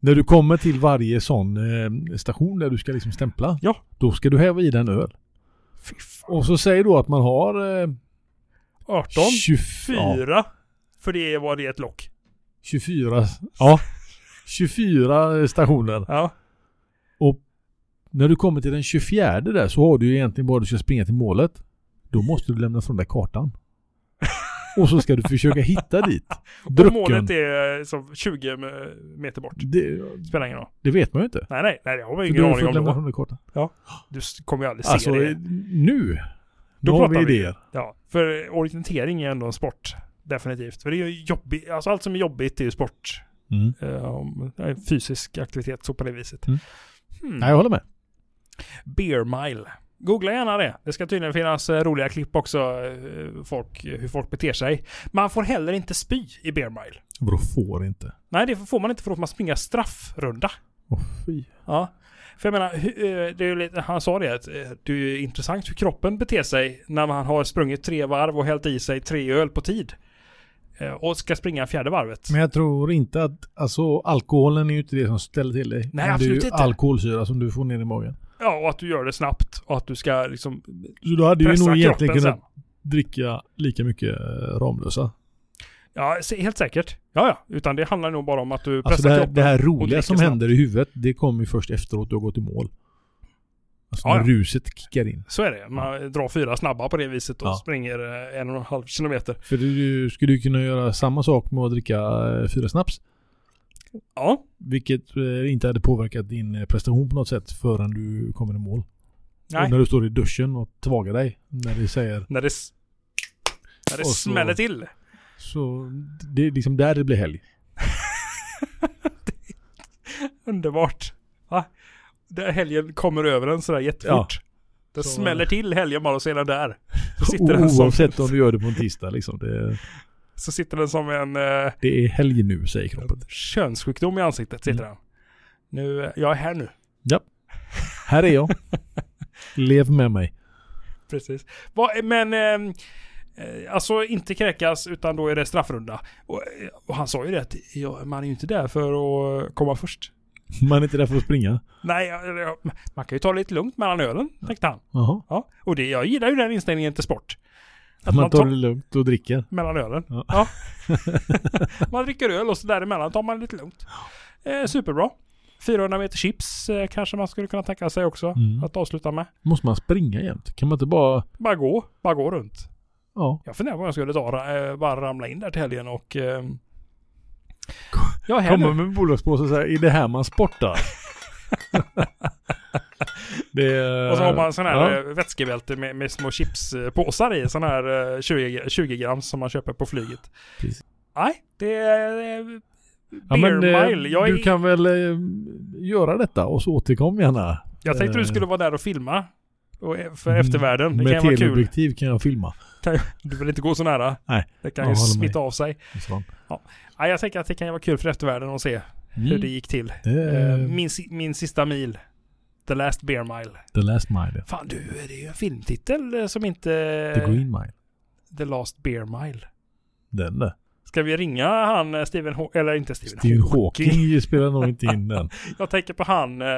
[SPEAKER 2] När du kommer till varje sån eh, station där du ska liksom stämpla.
[SPEAKER 1] Ja.
[SPEAKER 2] Då ska du häva i den öl.
[SPEAKER 1] Fy fan.
[SPEAKER 2] Och så säger då att man har eh,
[SPEAKER 1] 18,
[SPEAKER 2] 24.
[SPEAKER 1] 4, för det var det ett lock.
[SPEAKER 2] 24, ja, 24 stationer.
[SPEAKER 1] Ja,
[SPEAKER 2] När du kommer till den 24 där så har du ju egentligen bara du ska springa till målet. Då måste du lämna från dig kartan. Och så ska du försöka hitta dit.
[SPEAKER 1] och
[SPEAKER 2] Drucken.
[SPEAKER 1] målet är eh, som 20 m- meter bort.
[SPEAKER 2] Det,
[SPEAKER 1] Spelar ingen roll.
[SPEAKER 2] det vet man ju inte.
[SPEAKER 1] Nej, nej, nej, det har vi
[SPEAKER 2] För
[SPEAKER 1] ingen
[SPEAKER 2] du har
[SPEAKER 1] aning
[SPEAKER 2] fått
[SPEAKER 1] om
[SPEAKER 2] lämna
[SPEAKER 1] då.
[SPEAKER 2] från dig kartan.
[SPEAKER 1] Du s- kommer ju aldrig se
[SPEAKER 2] Alltså
[SPEAKER 1] det.
[SPEAKER 2] eh, nu. Nu
[SPEAKER 1] Då
[SPEAKER 2] har vi
[SPEAKER 1] pratar vi.
[SPEAKER 2] idéer.
[SPEAKER 1] Ja, för orientering är ändå en sport. Definitivt. För det är ju jobbigt, alltså allt som är jobbigt är ju sport.
[SPEAKER 2] Mm.
[SPEAKER 1] Eh, om- eh, fysisk aktivitet så på det viset.
[SPEAKER 2] Mm.
[SPEAKER 1] Hmm.
[SPEAKER 2] Nej, jag håller med.
[SPEAKER 1] Beer mile. Googla gärna det. Det ska tydligen finnas eh, roliga klipp också. eh, Folk, hur folk beter sig. Man får heller inte spy i beer mile.
[SPEAKER 2] Vadå får inte?
[SPEAKER 1] Nej, det får man inte för då får man springa straffrunda.
[SPEAKER 2] Åh fy.
[SPEAKER 1] Ja. För jag menar, hu- eh, det är ju lite, han sa det att eh, det är ju intressant hur kroppen beter sig när man har sprungit tre varv och hällt i sig tre öl på tid. Eh, Och ska springa fjärde varvet.
[SPEAKER 2] Men jag tror inte att, alltså alkoholen är ju inte det som ställer till dig.
[SPEAKER 1] Nej,
[SPEAKER 2] Men
[SPEAKER 1] absolut
[SPEAKER 2] Det är
[SPEAKER 1] inte.
[SPEAKER 2] ju alkoholsyra som du får ner i magen.
[SPEAKER 1] Ja, och att du gör det snabbt och att du ska liksom
[SPEAKER 2] Så du hade ju
[SPEAKER 1] pressa
[SPEAKER 2] nog egentligen
[SPEAKER 1] kroppen
[SPEAKER 2] kunnat
[SPEAKER 1] sen.
[SPEAKER 2] dricka lika mycket eh, Ramlösa.
[SPEAKER 1] Ja, se- helt säkert. Ja, ja. Utan det handlar nog bara om att du pressar
[SPEAKER 2] Alltså det här,
[SPEAKER 1] kroppen.
[SPEAKER 2] det här
[SPEAKER 1] och
[SPEAKER 2] roliga
[SPEAKER 1] dricker
[SPEAKER 2] som
[SPEAKER 1] snabbt.
[SPEAKER 2] händer i huvudet, det kommer ju först efteråt du har gått i mål. Alltså
[SPEAKER 1] Ja,
[SPEAKER 2] när
[SPEAKER 1] ja.
[SPEAKER 2] ruset kickar in.
[SPEAKER 1] Så är det. Man drar fyra snabba på det viset och
[SPEAKER 2] Ja.
[SPEAKER 1] springer eh, en och en halv kilometer.
[SPEAKER 2] För du, du skulle ju kunna göra samma sak med att dricka eh, fyra snaps.
[SPEAKER 1] Ja,
[SPEAKER 2] Vilket eh, inte hade påverkat din eh, prestation på något sätt förrän du kommer i mål.
[SPEAKER 1] nej.
[SPEAKER 2] Och när du står i duschen och tvagar dig. När det säger
[SPEAKER 1] När det, s- när det
[SPEAKER 2] Och så-
[SPEAKER 1] smäller till.
[SPEAKER 2] så. Det är liksom där det blir helg.
[SPEAKER 1] Underbart. Va? Där helgen kommer över en sådär jättefort. Det
[SPEAKER 2] Så-
[SPEAKER 1] smäller till helgen bara och sedan där. Så sitter, den
[SPEAKER 2] O-
[SPEAKER 1] som,
[SPEAKER 2] Oavsett om du gör det på en tisdag liksom. Det,
[SPEAKER 1] så sitter den som en eh,
[SPEAKER 2] det är helg nu säger kroppen.
[SPEAKER 1] könssjukdom i ansiktet. Sitter
[SPEAKER 2] Mm.
[SPEAKER 1] den. Nu, eh, jag är här nu.
[SPEAKER 2] Här är jag. Lev med mig.
[SPEAKER 1] Precis. Va, men, ehm, eh, alltså inte kräkas utan då är det straffrunda. Och, eh, och han sa ju det att ja, man är ju inte där för att eh, komma först.
[SPEAKER 2] Man är inte där för att springa.
[SPEAKER 1] Nej, jag- jag- man kan ju ta det lite lugnt mellan ölen, tänkte han.
[SPEAKER 2] Jaha.
[SPEAKER 1] Ja, och det, jag gillar ju den inställningen till sport. Att
[SPEAKER 2] Man tar det lugnt och dricker.
[SPEAKER 1] mellan ölen. Ja.
[SPEAKER 2] Ja.
[SPEAKER 1] man dricker öl och så däremellan tar man det lite lugnt. Eh, superbra. 400 meter chips eh, kanske man skulle kunna tänka sig också
[SPEAKER 2] Mm.
[SPEAKER 1] att avsluta med.
[SPEAKER 2] Måste man springa jämt? Kan man inte bara...
[SPEAKER 1] Bara gå, bara gå runt.
[SPEAKER 2] Ja.
[SPEAKER 1] Jag funderar på om jag skulle ta, eh, bara ramla in där till helgen och... Eh, jag är här
[SPEAKER 2] Komma
[SPEAKER 1] nu.
[SPEAKER 2] med bolagspåse och säga, är det här man sportar? det är...
[SPEAKER 1] Och så har man sån här
[SPEAKER 2] Ja.
[SPEAKER 1] eh, vätskebälte med, med små chipspåsar i. Sån här eh, 20, 20 gram som man köper på flyget.
[SPEAKER 2] Precis.
[SPEAKER 1] Nej, det är... Eh,
[SPEAKER 2] Ja,
[SPEAKER 1] beer
[SPEAKER 2] men, eh,
[SPEAKER 1] mile. Jag,
[SPEAKER 2] Du
[SPEAKER 1] är,
[SPEAKER 2] kan väl eh, göra detta och så återkom gärna.
[SPEAKER 1] jag tänkte du
[SPEAKER 2] eh,
[SPEAKER 1] skulle vara där och filma. Och, eh, för
[SPEAKER 2] Mm,
[SPEAKER 1] eftervärlden. Det kan
[SPEAKER 2] Med
[SPEAKER 1] ju vara kul.
[SPEAKER 2] teleobjektiv kan jag filma.
[SPEAKER 1] Du vill inte gå så nära.
[SPEAKER 2] Nej,
[SPEAKER 1] Det kan
[SPEAKER 2] jag
[SPEAKER 1] ju
[SPEAKER 2] håller
[SPEAKER 1] smitta av sig.
[SPEAKER 2] Och sånt.
[SPEAKER 1] Nej, jag tänker att det kan ju vara kul för eftervärlden att se hur
[SPEAKER 2] Mm.
[SPEAKER 1] det gick till.
[SPEAKER 2] Det är
[SPEAKER 1] Eh, Min, si- min sista mil. The last beer mile.
[SPEAKER 2] The Last Mile.
[SPEAKER 1] Fan du, det är ju en filmtitel eh, som inte...
[SPEAKER 2] The Green Mile.
[SPEAKER 1] The last beer mile.
[SPEAKER 2] Den där.
[SPEAKER 1] Ska vi ringa han eh, Stephen Haw- Eller inte Stephen,
[SPEAKER 2] Stephen
[SPEAKER 1] Haw-
[SPEAKER 2] Hawking spelar nog inte in den.
[SPEAKER 1] Jag tänker på han eh,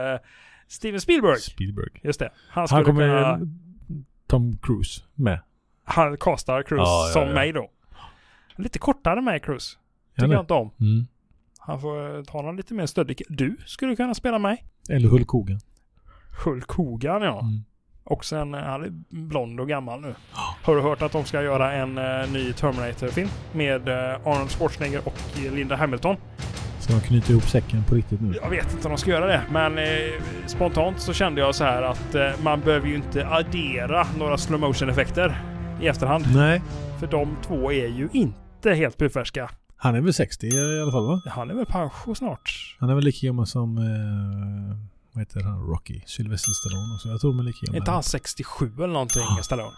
[SPEAKER 1] Steven Spielberg.
[SPEAKER 2] Spielberg.
[SPEAKER 1] Just det. Han,
[SPEAKER 2] Han
[SPEAKER 1] skulle
[SPEAKER 2] kommer
[SPEAKER 1] kunna,
[SPEAKER 2] Tom Cruise med.
[SPEAKER 1] Han castar Cruise
[SPEAKER 2] Ja, ja,
[SPEAKER 1] som
[SPEAKER 2] ja.
[SPEAKER 1] mig då. Lite kortare mig Cruise. Tycker
[SPEAKER 2] Eller?
[SPEAKER 1] jag inte om.
[SPEAKER 2] Mm.
[SPEAKER 1] Han får eh, ta någon lite mer stöddig. Du skulle kunna spela mig.
[SPEAKER 2] Eller Hulk Hogan.
[SPEAKER 1] Hulk Hogan ja.
[SPEAKER 2] Mm.
[SPEAKER 1] Och sen, eh, han är blond och gammal nu. Har du hört att de ska göra en eh, ny Terminator-film? Med eh, Arnold Schwarzenegger och eh, Linda Hamilton.
[SPEAKER 2] Ska de knyta ihop säcken på riktigt nu?
[SPEAKER 1] Jag vet inte om de ska göra det, men eh, spontant så kände jag så här att eh, man behöver ju inte addera några slow motion effekter i efterhand.
[SPEAKER 2] Nej.
[SPEAKER 1] För de två är ju inte helt purfärska.
[SPEAKER 2] Han är väl 60 i alla fall va?
[SPEAKER 1] Han är väl pension snart?
[SPEAKER 2] Han är väl lika gammal som... Eh, vad heter han? Rocky. Sylvester Stallone också. Jag tror de är lika
[SPEAKER 1] Är
[SPEAKER 2] gamla.
[SPEAKER 1] inte han 67 eller någonting, Stallone?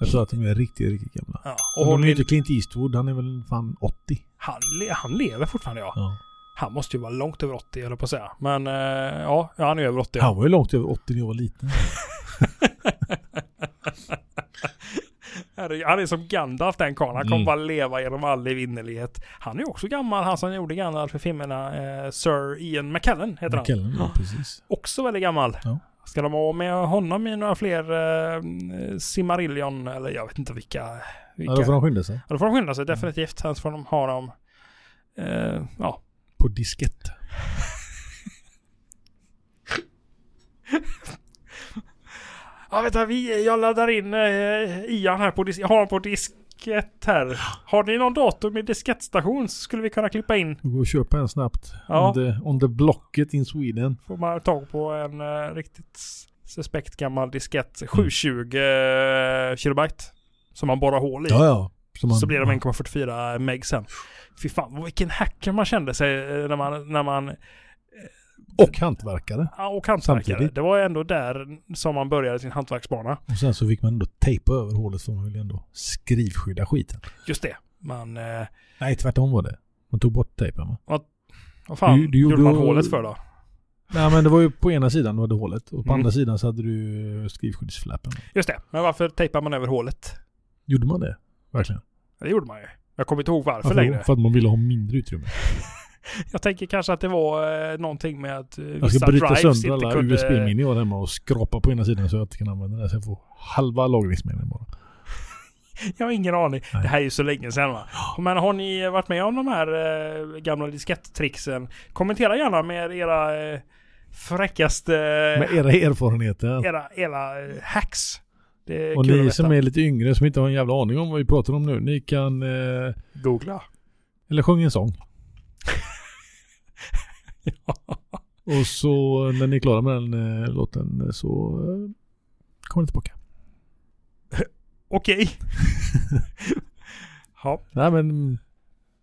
[SPEAKER 2] Jag tror att de är riktigt, riktigt gamla.
[SPEAKER 1] Ja,
[SPEAKER 2] Och
[SPEAKER 1] och
[SPEAKER 2] de är
[SPEAKER 1] hon,
[SPEAKER 2] ju inte Clint Eastwood. Han är väl fan 80.
[SPEAKER 1] han, le- han lever fortfarande ja.
[SPEAKER 2] Ja.
[SPEAKER 1] Han måste ju vara långt över 80 eller på att säga. Men eh, ja, ja, han är över 80.
[SPEAKER 2] Han var ju långt över 80 när jag var liten.
[SPEAKER 1] Herregud, Han är som Gandalf den karln. Han kommer
[SPEAKER 2] Mm.
[SPEAKER 1] bara leva genom all evinnerlighet. Han är också gammal, han som gjorde Gandalf för filmerna. Eh, Sir Ian McKellen heter han.
[SPEAKER 2] Killen, ja. precis.
[SPEAKER 1] Också väldigt gammal.
[SPEAKER 2] Ja.
[SPEAKER 1] Ska de ha med honom i några fler eh, Simarillion eller jag vet inte vilka. vilka.
[SPEAKER 2] Ja, då får de skynda sig.
[SPEAKER 1] Ja, då får de skynda sig definitivt. Sen får de ha dem eh, ja,
[SPEAKER 2] På diskett.
[SPEAKER 1] Ja, vänta, vi, jag laddar in eh, Ian här på disk. Jag har honom på diskett här. Har ni någon dator med diskettstation så skulle vi kunna klippa in.
[SPEAKER 2] Gå och köpa en snabbt.
[SPEAKER 1] Ja.
[SPEAKER 2] On, the, on the blocket in Sweden.
[SPEAKER 1] Får man tag på en eh, riktigt suspekt gammal
[SPEAKER 2] Mm.
[SPEAKER 1] diskett. 720 eh, kilobyte. Som man borrar hål i.
[SPEAKER 2] Ja, ja. Som man-
[SPEAKER 1] Så blir de 1,44 meg sen. Fy fan, vad- vilken hacker man kände sig eh, när man... När man
[SPEAKER 2] Och hantverkare.
[SPEAKER 1] ja, och hantverkare.
[SPEAKER 2] Samtidigt.
[SPEAKER 1] Det var ändå där som man började sin hantverksbana.
[SPEAKER 2] Och sen så fick man ändå tejpa över hålet för man ville ändå skrivskydda skiten.
[SPEAKER 1] Just det. Man... Eh,
[SPEAKER 2] Nej, tvärtom var det. Man tog bort tejpen va?
[SPEAKER 1] vad fan
[SPEAKER 2] Du- du
[SPEAKER 1] gjorde
[SPEAKER 2] gjorde-
[SPEAKER 1] man hålet för då?
[SPEAKER 2] Nej, men det var ju på ena sidan du hade hålet och på
[SPEAKER 1] Mm.
[SPEAKER 2] andra sidan så hade du eh, skrivskyddsfläppen.
[SPEAKER 1] Just det. Men varför tejpar man över hålet?
[SPEAKER 2] Gjorde man det? Verkligen?
[SPEAKER 1] Ja, Det gjorde man ju. Jag kommer inte ihåg varför
[SPEAKER 2] Varför
[SPEAKER 1] längre.
[SPEAKER 2] För att man ville ha mindre utrymme.
[SPEAKER 1] Jag tänker kanske att det var eh, någonting med att eh,
[SPEAKER 2] Jag
[SPEAKER 1] vissa
[SPEAKER 2] ska bryta
[SPEAKER 1] drives
[SPEAKER 2] sönder
[SPEAKER 1] inte
[SPEAKER 2] alla
[SPEAKER 1] kunde...
[SPEAKER 2] USB-minnen jag har hemma och skrapa på ena sidan så jag inte kan använda det. Så jag får halva lagringsminnen bara.
[SPEAKER 1] Jag har ingen aning.
[SPEAKER 2] Nej.
[SPEAKER 1] Det här är ju så länge sedan va. Men har ni varit med om de här eh, gamla diskettricksen? Kommentera gärna med era eh, fräckaste...
[SPEAKER 2] Med era erfarenheter.
[SPEAKER 1] era, era eh, hacks. Det är
[SPEAKER 2] Och
[SPEAKER 1] kul
[SPEAKER 2] ni
[SPEAKER 1] att veta.
[SPEAKER 2] som är lite yngre som inte har en jävla aning om vad vi pratar om nu. Ni kan... Eh,
[SPEAKER 1] Googla.
[SPEAKER 2] eller sjung en sång. Och så när ni är klara med den eh, låten eh, så eh, kommer ni tillbaka.
[SPEAKER 1] Okej. ja,
[SPEAKER 2] Nej men, mm,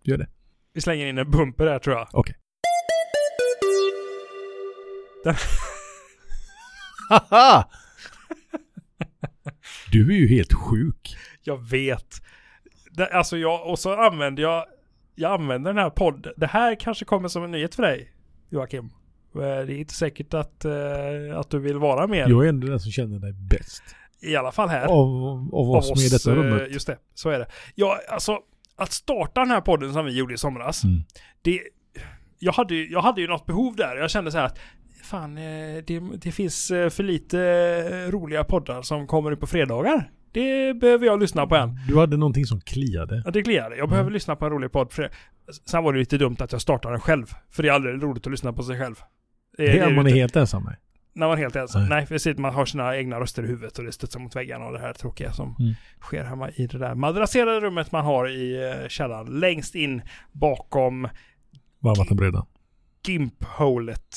[SPEAKER 2] gör det.
[SPEAKER 1] vi slänger in en bumper där tror jag.
[SPEAKER 2] Okej.
[SPEAKER 1] Den,
[SPEAKER 2] Haha! Du är ju helt sjuk.
[SPEAKER 1] jag vet. Den, alltså jag, och så använder jag, jag använder den här podden. Det här kanske kommer som en nyhet för dig, Joakim. Eh, Det är inte säkert att, eh, att du vill vara med.
[SPEAKER 2] Jag är ändå den som känner dig bäst.
[SPEAKER 1] I alla fall här.
[SPEAKER 2] Av, av oss med i detta
[SPEAKER 1] eh,
[SPEAKER 2] rummet.
[SPEAKER 1] Just det, så är det. Ja, alltså att starta den här podden som vi gjorde i somras.
[SPEAKER 2] Mm.
[SPEAKER 1] Det, jag, hade, ju- jag hade ju något behov där. Jag kände så här att fan, eh, det, det finns eh, för lite eh, roliga poddar som kommer ut på fredagar. Det behöver jag lyssna på än.
[SPEAKER 2] Du hade någonting som kliade.
[SPEAKER 1] Ja, det kliar. Jag
[SPEAKER 2] Mm.
[SPEAKER 1] behöver lyssna på en rolig podd. För det. Sen var det lite dumt att jag startade den själv. För det är aldrig roligt att lyssna på sig själv. Det är-
[SPEAKER 2] Det
[SPEAKER 1] det är
[SPEAKER 2] är
[SPEAKER 1] ju typ-
[SPEAKER 2] man är
[SPEAKER 1] inte.
[SPEAKER 2] helt ensam med.
[SPEAKER 1] När man är helt ensam.
[SPEAKER 2] Nej.
[SPEAKER 1] Nej, precis. Man har sina egna röster i huvudet och det studsar mot väggarna och det här tråkiga som
[SPEAKER 2] Mm.
[SPEAKER 1] sker hemma i det där madrasserade rummet man har i eh, källaren. Längst in bakom
[SPEAKER 2] Varmvattenbrädan.
[SPEAKER 1] Gimp-hålet.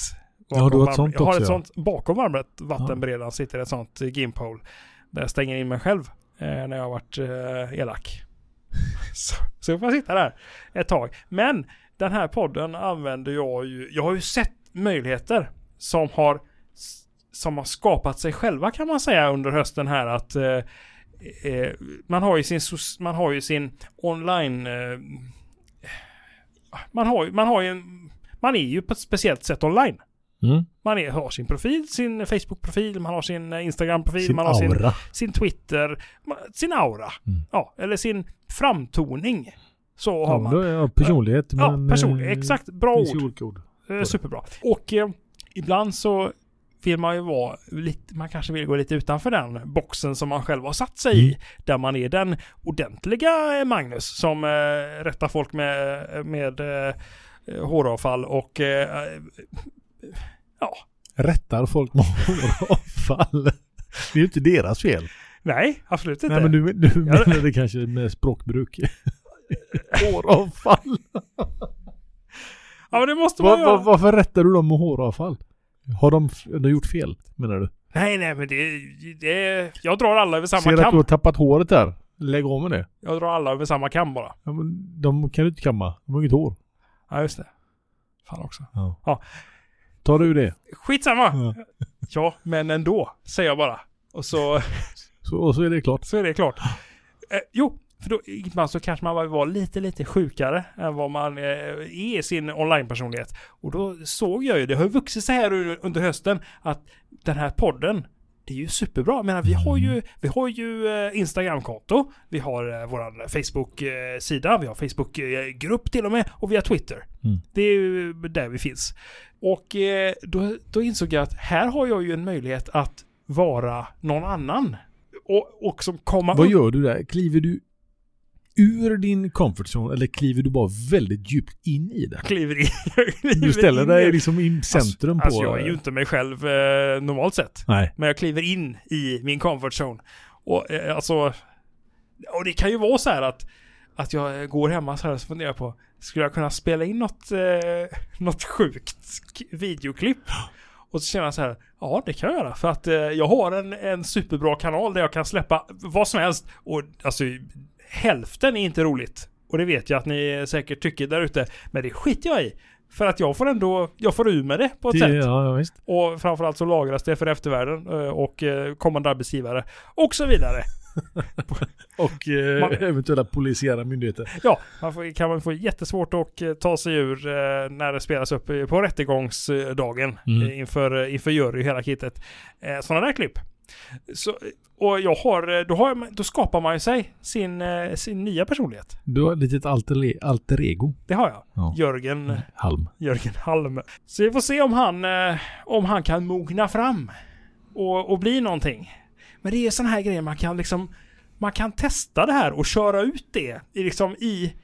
[SPEAKER 2] Ja, har du
[SPEAKER 1] Bakom
[SPEAKER 2] ett
[SPEAKER 1] varm-
[SPEAKER 2] sånt
[SPEAKER 1] Jag har
[SPEAKER 2] också,
[SPEAKER 1] ett
[SPEAKER 2] ja.
[SPEAKER 1] sånt bakom varmrätt vattenberedaren sitter ett sånt eh, Gimp-hål. Där jag stänger in mig själv eh, när jag har varit eh, elak. så, så får jag sitta där ett tag. Men den här podden använder jag ju. Jag har ju sett möjligheter som har, som har skapat sig själva kan man säga under hösten här att eh, eh, man har ju sin, sos- man har ju sin online... Eh, man har ju, man har ju en, man är ju på ett speciellt sätt online.
[SPEAKER 2] Mm.
[SPEAKER 1] Man är, har sin profil, sin Facebook-profil, man har sin eh, Instagram-profil,
[SPEAKER 2] Sin
[SPEAKER 1] man har sin,
[SPEAKER 2] aura.
[SPEAKER 1] sin Twitter, ma- sin aura.
[SPEAKER 2] Mm.
[SPEAKER 1] Ja, eller sin framtoning. Så har
[SPEAKER 2] Ja,
[SPEAKER 1] man.
[SPEAKER 2] då är jag personlighet.
[SPEAKER 1] Ja,
[SPEAKER 2] men,
[SPEAKER 1] personlig.
[SPEAKER 2] eh,
[SPEAKER 1] Exakt. Bra
[SPEAKER 2] finns ju
[SPEAKER 1] ord.
[SPEAKER 2] olika ord.
[SPEAKER 1] Eh, superbra. Och eh, ibland så vill man ju vara lite, man kanske vill gå lite utanför den boxen som man själv har satt sig i.
[SPEAKER 2] Mm.
[SPEAKER 1] Där man är den ordentliga eh, Magnus som eh, rättar folk med, med eh, håravfall och eh,
[SPEAKER 2] Rättar folk med avfall. Det är ju inte deras fel.
[SPEAKER 1] nej, absolut inte.
[SPEAKER 2] Nej men du, du
[SPEAKER 1] Ja,
[SPEAKER 2] menade kanske med språkbruk. Håravfall.
[SPEAKER 1] Ja, men det måste man
[SPEAKER 2] Var,
[SPEAKER 1] göra.
[SPEAKER 2] var, varför rättar du dem med håravfall? Har de, f- de gjort fel menar du?
[SPEAKER 1] Nej, nej, men det, det Jag drar alla över samma
[SPEAKER 2] Ser att
[SPEAKER 1] kam.
[SPEAKER 2] du har tappat håret där? Lägg av med det.
[SPEAKER 1] Jag drar alla över samma kam bara.
[SPEAKER 2] Ja, men de kan du inte kamma. De har inget hår.
[SPEAKER 1] Ja, just det. Fan också.
[SPEAKER 2] Ta du det.
[SPEAKER 1] Skitsamma.
[SPEAKER 2] Ja.
[SPEAKER 1] Ja, men ändå, säger jag bara. Och så...
[SPEAKER 2] Så, och så är det klart.
[SPEAKER 1] Så är det klart. Eh, jo, för då ibland så kanske man var lite, lite sjukare än vad man eh, är i sin online-personlighet. Och då såg jag ju, det har ju vuxit så här u- under hösten, att den här podden, det är ju superbra. Jag menar, vi har
[SPEAKER 2] Mm.
[SPEAKER 1] ju, vi har ju eh, Instagram-konto, vi har eh, vår Facebook-sida, vi har Facebook-grupp till och med, och vi har Twitter.
[SPEAKER 2] Mm.
[SPEAKER 1] Det är ju där vi finns. Och eh, då, då insåg jag att här har jag ju en möjlighet att vara någon annan. Och, och som komma
[SPEAKER 2] Vad
[SPEAKER 1] upp.
[SPEAKER 2] gör du där? Kliver du ur din comfort zone eller kliver du bara väldigt djupt in i den?
[SPEAKER 1] kliver in. Jag kliver
[SPEAKER 2] Du ställer
[SPEAKER 1] in
[SPEAKER 2] dig
[SPEAKER 1] i-
[SPEAKER 2] liksom i centrum
[SPEAKER 1] alltså,
[SPEAKER 2] på...
[SPEAKER 1] Alltså jag är ju inte mig själv eh, normalt sett.
[SPEAKER 2] Nej.
[SPEAKER 1] Men jag kliver in i min comfort zone. Och eh, alltså... Och det kan ju vara så här att... Att jag eh, går hemma så här och så funderar jag på... Skulle jag kunna spela in något, eh, något sjukt sk- videoklipp? Och så känner jag så här, ja det kan jag göra. För att eh, jag har en, en superbra kanal där jag kan släppa vad som helst. Och alltså hälften är inte roligt. Och det vet jag att ni säkert tycker där ute. Men det skiter jag i. För att jag får ändå, jag får ur med det på ett
[SPEAKER 2] Det,
[SPEAKER 1] sätt.
[SPEAKER 2] ja, ja, visst.
[SPEAKER 1] Och framförallt så lagras det för eftervärlden eh, och eh, kommande arbetsgivare och så vidare.
[SPEAKER 2] Och eh,
[SPEAKER 1] Man-
[SPEAKER 2] eventuella polisiära myndigheter.
[SPEAKER 1] Ja, man får, kan man få jättesvårt att eh, ta sig ur eh, när det spelas upp eh, på rättegångsdagen
[SPEAKER 2] Mm.
[SPEAKER 1] eh, inför, eh, inför jury och hela kittet. Eh, Sådana där klipp. Så, eh, och jag har, eh, då, har, jag- då skapar man ju sig sin, eh, sin nya personlighet.
[SPEAKER 2] Du har ett litet alter, alter ego.
[SPEAKER 1] Det har jag.
[SPEAKER 2] Ja. Mm.
[SPEAKER 1] Jörgen,
[SPEAKER 2] Halm.
[SPEAKER 1] Jörgen Halm. Så vi får se om han, eh, om han kan mogna fram och, och bli någonting. Men det är sådana här grejer man kan liksom, man kan testa det här och köra ut det i, liksom i,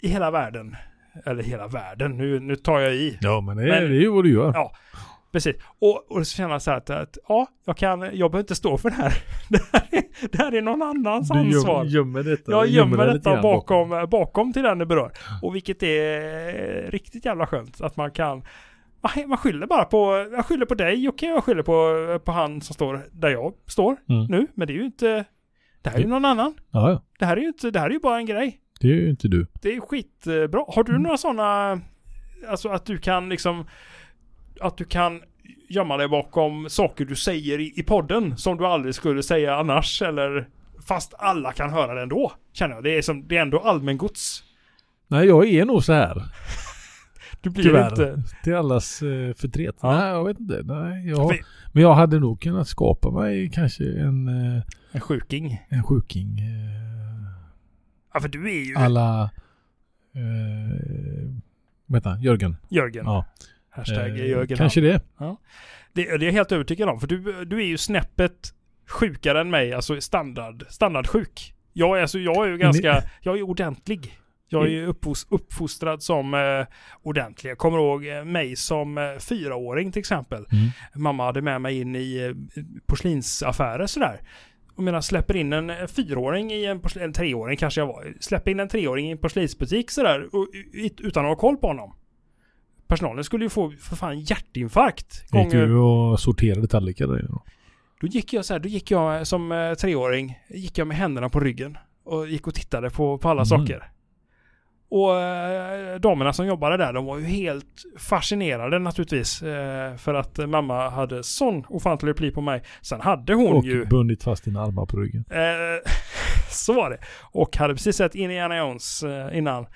[SPEAKER 1] i hela världen. Eller hela världen, nu, nu tar jag i.
[SPEAKER 2] Ja, men det,
[SPEAKER 1] Men-
[SPEAKER 2] är- det är ju vad du gör.
[SPEAKER 1] Ja. Precis. Och, och så känner jag så här att, att ja, jag, kan, jag behöver inte stå för det här. Det här är, det här är någon annans
[SPEAKER 2] du göm-
[SPEAKER 1] ansvar.
[SPEAKER 2] gömmer
[SPEAKER 1] Alltså,
[SPEAKER 2] detta.
[SPEAKER 1] Jag
[SPEAKER 2] du
[SPEAKER 1] gömmer
[SPEAKER 2] dig lite
[SPEAKER 1] detta
[SPEAKER 2] grann
[SPEAKER 1] eh, bakom, bakom till den det berör. Och vilket är eh, riktigt jävla skönt. Att man kan, Man, man skyller bara på, jag skyller på dig Jocke, jag skyller på, eh, på han som står där jag står
[SPEAKER 2] Mm.
[SPEAKER 1] nu. Men det är ju inte, det här är ju
[SPEAKER 2] Det-
[SPEAKER 1] någon annan.
[SPEAKER 2] Ja, ja.
[SPEAKER 1] Det här är ju inte, det här är ju bara en grej.
[SPEAKER 2] Det är ju inte du.
[SPEAKER 1] Det är skitbra. Har du
[SPEAKER 2] Mm.
[SPEAKER 1] några sådana, alltså att du kan liksom, att du kan gömma dig bakom saker du säger i, i podden som du aldrig skulle säga annars eller fast alla kan höra det ändå, känner jag. Det är, som, det är ändå allmängods.
[SPEAKER 2] Nej, jag är nog så här.
[SPEAKER 1] Du blir
[SPEAKER 2] Tyvärr.
[SPEAKER 1] inte...
[SPEAKER 2] Till allas eh, förtret.
[SPEAKER 1] Ja.
[SPEAKER 2] Nej, jag vet inte. Nej, jag...
[SPEAKER 1] Vi-
[SPEAKER 2] Men jag hade nog kunnat skapa mig kanske en, eh,
[SPEAKER 1] En sjuking.
[SPEAKER 2] en sjuking. Eh,
[SPEAKER 1] Ja, för du är ju
[SPEAKER 2] alla... Eh, vänta, Jörgen.
[SPEAKER 1] Jörgen.
[SPEAKER 2] Ja.
[SPEAKER 1] Hashtag
[SPEAKER 2] Eh,
[SPEAKER 1] Jörgen.
[SPEAKER 2] Kanske det.
[SPEAKER 1] Det, det är jag helt övertygad om. För du, du är ju snäppet sjukare än mig. Alltså standard, standardsjuk. Jag är, alltså, jag är ju ganska... Jag är ordentlig. Jag är ju uppfos- uppfostrad som eh, ordentlig. Jag kommer ihåg eh, mig som eh, fyraåring till exempel.
[SPEAKER 2] Mm.
[SPEAKER 1] Mamma hade med mig in i eh, porslinsaffärer sådär. Och medan släpper in en eh, fyraåring i en porslin, en treåring kanske jag var. Släpper in en treåring i en porslinsbutik sådär och, ut- utan att ha koll på honom. Personalen skulle ju få för fan hjärtinfarkt.
[SPEAKER 2] Gick
[SPEAKER 1] Gånger,
[SPEAKER 2] du och sorterade tallrikar där? inne då?
[SPEAKER 1] då gick jag så här, då gick jag som eh, treåring, gick jag med händerna på ryggen och gick och tittade på, på alla
[SPEAKER 2] Mm.
[SPEAKER 1] saker. Och eh, damerna som jobbade där, de var ju helt fascinerade naturligtvis. Eh, för att eh, mamma hade sån ofantlig replik på mig. Sen hade hon
[SPEAKER 2] Och
[SPEAKER 1] ju...
[SPEAKER 2] bundit fast dina armar på ryggen.
[SPEAKER 1] Eh, så var det. Och hade precis sett Indiana Jones eh, innan.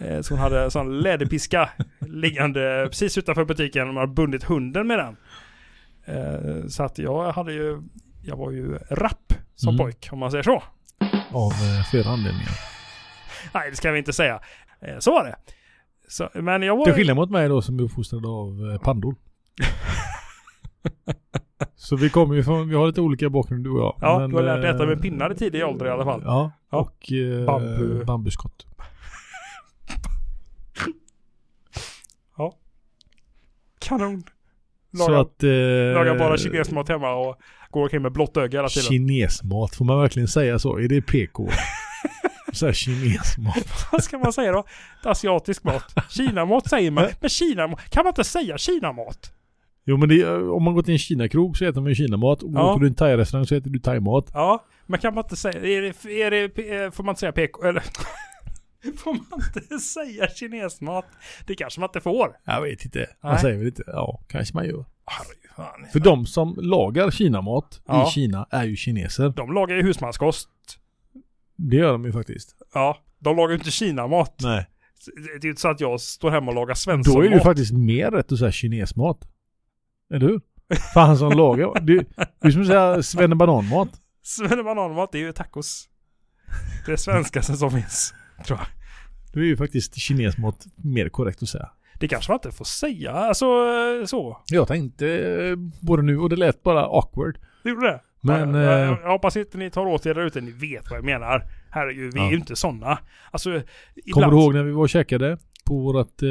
[SPEAKER 1] Eh, så hon hade en sån läderpiska liggande precis utanför butiken. De hade bundit hunden med den. Eh, så att jag hade ju, jag var ju rapp som
[SPEAKER 2] Mm.
[SPEAKER 1] pojk om man säger så.
[SPEAKER 2] Av eh, flera anledningar.
[SPEAKER 1] Nej, det ska vi inte säga. Eh, så var det. Så, men jag
[SPEAKER 2] Till
[SPEAKER 1] var...
[SPEAKER 2] skillnad mot mig då som är uppfostrad av eh, pandor. Så vi kommer ju från, vi har lite olika bakgrund du och jag.
[SPEAKER 1] Ja, du har lärt dig
[SPEAKER 2] eh,
[SPEAKER 1] äta med pinnar i tidig ålder i alla fall.
[SPEAKER 2] Ja,
[SPEAKER 1] Ja.
[SPEAKER 2] och eh,
[SPEAKER 1] Bambu.
[SPEAKER 2] bambuskott.
[SPEAKER 1] Kanon.
[SPEAKER 2] Så
[SPEAKER 1] Lagar,
[SPEAKER 2] att... Eh,
[SPEAKER 1] lagar bara kinesmat hemma och går omkring med blått öga hela tiden.
[SPEAKER 2] Kinesmat, får man verkligen säga så? Är det PK? så här kinesmat.
[SPEAKER 1] Vad ska man säga då? Asiatisk mat. Kinamat säger man. Men kinamat, kan man inte säga kinamat?
[SPEAKER 2] Jo men det, är- om man går till en kinakrog så äter man ju kinamat. Och
[SPEAKER 1] Ja.
[SPEAKER 2] Åker du till en thai-restaurang så äter du thai-mat.
[SPEAKER 1] Ja, men kan man inte säga, är det, är det, eh, får man inte säga PK, eller? får man inte säga kinesmat? Det kanske man inte får.
[SPEAKER 2] Jag vet inte.
[SPEAKER 1] Nej.
[SPEAKER 2] Man säger väl inte, ja kanske man gör.
[SPEAKER 1] Harry, fan.
[SPEAKER 2] För de som lagar kinamat
[SPEAKER 1] Ja.
[SPEAKER 2] i Kina är ju kineser.
[SPEAKER 1] De lagar ju husmanskost.
[SPEAKER 2] Det gör de ju faktiskt.
[SPEAKER 1] Ja, de lagar ju inte kinamat.
[SPEAKER 2] Nej.
[SPEAKER 1] Det är ju inte så att jag står hemma och lagar
[SPEAKER 2] Då är
[SPEAKER 1] svenskmat.
[SPEAKER 2] det ju faktiskt mer rätt att säga kinesmat. Eller hur? För han som lagar. Det det är som att säga svennebananmat.
[SPEAKER 1] Svennebananmat, det är ju tacos. Det är svenskaste som finns.
[SPEAKER 2] Då är ju faktiskt kinesmat mer korrekt att säga.
[SPEAKER 1] Det kanske man inte får säga, alltså eh, så.
[SPEAKER 2] Jag tänkte eh, både nu och det lät bara awkward.
[SPEAKER 1] Det gjorde det.
[SPEAKER 2] Men,
[SPEAKER 1] Ja, jag,
[SPEAKER 2] eh,
[SPEAKER 1] jag, jag hoppas inte ni tar åt er där ute. Ni vet vad jag menar. Herregud, vi är
[SPEAKER 2] Ja.
[SPEAKER 1] ju inte sådana. Alltså,
[SPEAKER 2] Kommer
[SPEAKER 1] ibland...
[SPEAKER 2] du ihåg när vi var och käkade? På vårat, eh,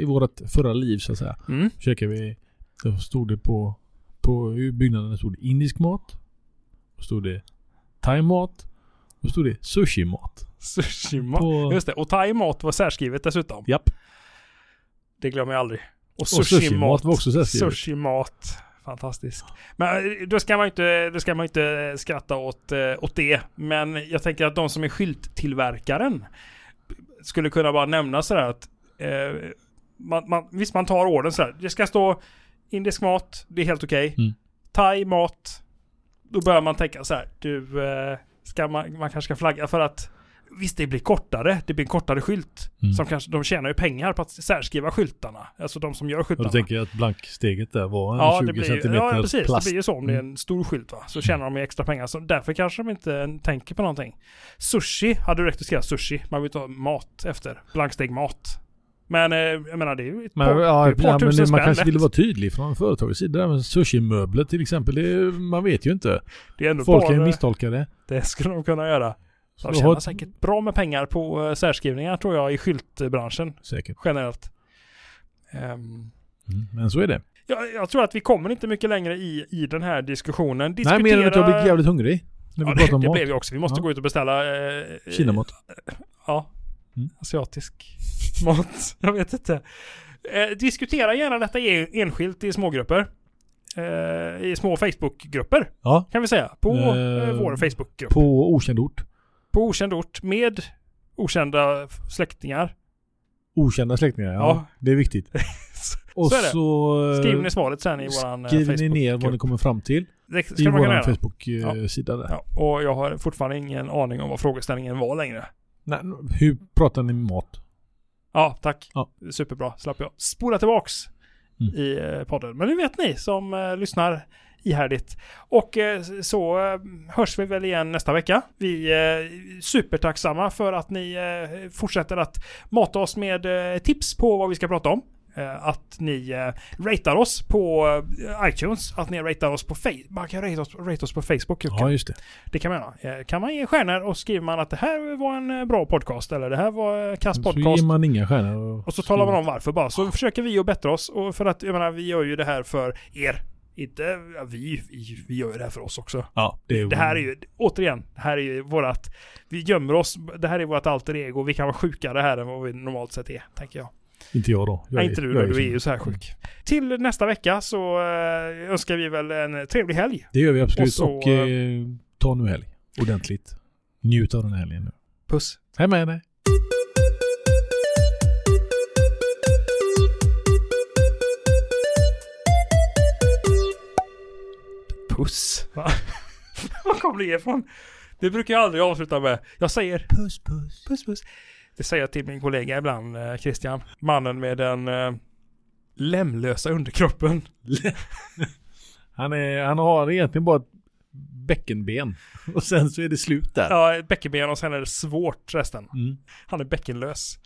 [SPEAKER 2] I vårat förra liv så att säga.
[SPEAKER 1] Mm.
[SPEAKER 2] Käkade vi. Då stod det på, på i byggnaden stod det indisk mat. Då stod det thai-mat. Då stod det sushi-mat.
[SPEAKER 1] Sushima.
[SPEAKER 2] På,
[SPEAKER 1] Just det. Och thai-mat var särskrivet dessutom.
[SPEAKER 2] Japp.
[SPEAKER 1] Det glömmer jag aldrig. Och
[SPEAKER 2] sushimat var också särskrivet.
[SPEAKER 1] Sushi-mat. Fantastiskt. Men eh, då ska man ju inte, då ska man ju inte skratta åt, eh, åt det. Men jag tänker att de som är skylttillverkaren skulle kunna bara nämna sådär att eh, man, man, visst man tar orden sådär. Det ska stå indisk mat, det är helt okej.
[SPEAKER 2] Mm.
[SPEAKER 1] Thai mat. Då börjar man tänka så här, du, eh, ska man, man kanske ska flagga för att visst det blir kortare, det blir en kortare skylt.
[SPEAKER 2] Mm.
[SPEAKER 1] Som kanske, de tjänar ju pengar på att särskriva skyltarna. Alltså de som gör
[SPEAKER 2] Ja,
[SPEAKER 1] skyltarna.
[SPEAKER 2] du tänker att blanksteget där var en
[SPEAKER 1] Ja, det
[SPEAKER 2] 20
[SPEAKER 1] blir, ju-
[SPEAKER 2] centimeter
[SPEAKER 1] ja, precis.
[SPEAKER 2] plast. Mm.
[SPEAKER 1] Det blir ju så om det är en stor skylt va. Så tjänar de ju extra pengar. Så därför kanske de inte tänker på någonting. Sushi, hade du räckt att skriva sushi. Man vill ta mat efter. Blanksteg mat. Men eh, jag menar det är ju ett
[SPEAKER 2] Men,
[SPEAKER 1] par,
[SPEAKER 2] ja,
[SPEAKER 1] det är ett par
[SPEAKER 2] ja,
[SPEAKER 1] tusen
[SPEAKER 2] men man
[SPEAKER 1] spänn
[SPEAKER 2] kanske
[SPEAKER 1] lätt.
[SPEAKER 2] ville vara tydlig från företagets sida. Men sushi-möbler till exempel, det, är- man vet ju inte.
[SPEAKER 1] Det är ändå
[SPEAKER 2] Folk kan ju
[SPEAKER 1] bara,
[SPEAKER 2] misstolka det.
[SPEAKER 1] Det skulle de kunna göra.
[SPEAKER 2] Så
[SPEAKER 1] De
[SPEAKER 2] har-
[SPEAKER 1] tjänar säkert bra med pengar på eh, särskrivningar tror jag i skyltbranschen
[SPEAKER 2] säkert.
[SPEAKER 1] generellt. Ehm,
[SPEAKER 2] Mm, men så är det.
[SPEAKER 1] jag, jag tror att vi kommer inte mycket längre i, i den här diskussionen.
[SPEAKER 2] Nej, mer än att jag
[SPEAKER 1] Diskutera-
[SPEAKER 2] blir jävligt hungrig. När vi
[SPEAKER 1] Ja,
[SPEAKER 2] pratar
[SPEAKER 1] det,
[SPEAKER 2] om
[SPEAKER 1] det
[SPEAKER 2] mat.
[SPEAKER 1] blev jag också. Vi måste
[SPEAKER 2] Ja.
[SPEAKER 1] gå ut och beställa... Eh,
[SPEAKER 2] Kinamat.
[SPEAKER 1] Ja.
[SPEAKER 2] Mm.
[SPEAKER 1] Asiatisk mat. Jag vet inte. Eh, diskutera gärna detta en- enskilt i smågrupper. Eh, I små Facebookgrupper
[SPEAKER 2] Ja.
[SPEAKER 1] kan vi säga. På eh,
[SPEAKER 2] Eh,
[SPEAKER 1] vår Facebookgrupp. På,
[SPEAKER 2] På okänd ort.
[SPEAKER 1] okänd ort med okända f- släktingar.
[SPEAKER 2] Okända släktingar. Ja.
[SPEAKER 1] Ja.
[SPEAKER 2] Det är viktigt. Och
[SPEAKER 1] Så är det.
[SPEAKER 2] så... eh,
[SPEAKER 1] Skriv ner svaret sen i våran eh,
[SPEAKER 2] skriver ni ner vad ni
[SPEAKER 1] Facebookgrupp.
[SPEAKER 2] kommer fram till
[SPEAKER 1] Det ska
[SPEAKER 2] i
[SPEAKER 1] man kunna
[SPEAKER 2] vår
[SPEAKER 1] göra.
[SPEAKER 2] Facebook-sida där.
[SPEAKER 1] Ja, och jag har fortfarande ingen aning om vad frågeställningen var längre.
[SPEAKER 2] Nej, hur pratar ni med mat?
[SPEAKER 1] Ja, tack.
[SPEAKER 2] Ja.
[SPEAKER 1] Superbra. Slapp jag spola tillbaks
[SPEAKER 2] Mm.
[SPEAKER 1] i eh, podden. Men det vet ni som eh, lyssnar ihärdigt. Och eh, så eh, hörs vi väl igen nästa vecka. Vi är supertacksamma för att ni eh, fortsätter att mata oss med eh, tips på vad vi ska prata om. Eh, Att ni eh, ratear oss på eh, iTunes, att ni ratear oss på Facebook. Man kan rate oss, rate oss på Facebook. Jocke.
[SPEAKER 2] Ja, just det.
[SPEAKER 1] Det kan man göra. Eh, Kan man ge stjärnor och skriver man att det här var en eh, bra podcast eller det här var eh, kass
[SPEAKER 2] Så ger
[SPEAKER 1] podcast.
[SPEAKER 2] man inga stjärnor.
[SPEAKER 1] Och så talar man om varför bara. Så försöker vi att bättra oss. Och för att jag menar, vi gör ju det här för er. Inte ja, vi, vi, vi gör ju det här för oss också.
[SPEAKER 2] Ja, det, är,
[SPEAKER 1] Det här är ju, återigen, det här är ju vårat, vi gömmer oss, det här är vårt alter ego, vi kan vara sjukare här än vad vi normalt sett är, tänker jag.
[SPEAKER 2] Inte jag då. Jag
[SPEAKER 1] Nej,
[SPEAKER 2] är-
[SPEAKER 1] inte du
[SPEAKER 2] jag
[SPEAKER 1] då, du
[SPEAKER 2] så.
[SPEAKER 1] är ju så här sjuk. Till nästa vecka så eh, önskar vi väl en trevlig helg.
[SPEAKER 2] Det gör vi absolut.
[SPEAKER 1] Och
[SPEAKER 2] Och,
[SPEAKER 1] så,
[SPEAKER 2] eh, ta nu helg. Ordentligt. Njut av den här helgen nu.
[SPEAKER 1] Puss!
[SPEAKER 2] Hej med dig.
[SPEAKER 1] Puss. Va? Var kom det ifrån? Det brukar jag aldrig avsluta med. Jag säger
[SPEAKER 2] Puss, puss.
[SPEAKER 1] puss puss. Det säger jag till min kollega ibland, eh, Christian. Mannen med den eh, lämlösa underkroppen.
[SPEAKER 2] Han, är, han har egentligen bara ett bäckenben. Och sen så är det slut där.
[SPEAKER 1] Ja, ett bäckenben och sen är det svårt resten.
[SPEAKER 2] Mm.
[SPEAKER 1] Han är bäckenlös.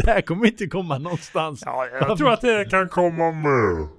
[SPEAKER 2] Det här kommer inte komma någonstans.
[SPEAKER 1] Ja, jag tror att det kan komma med.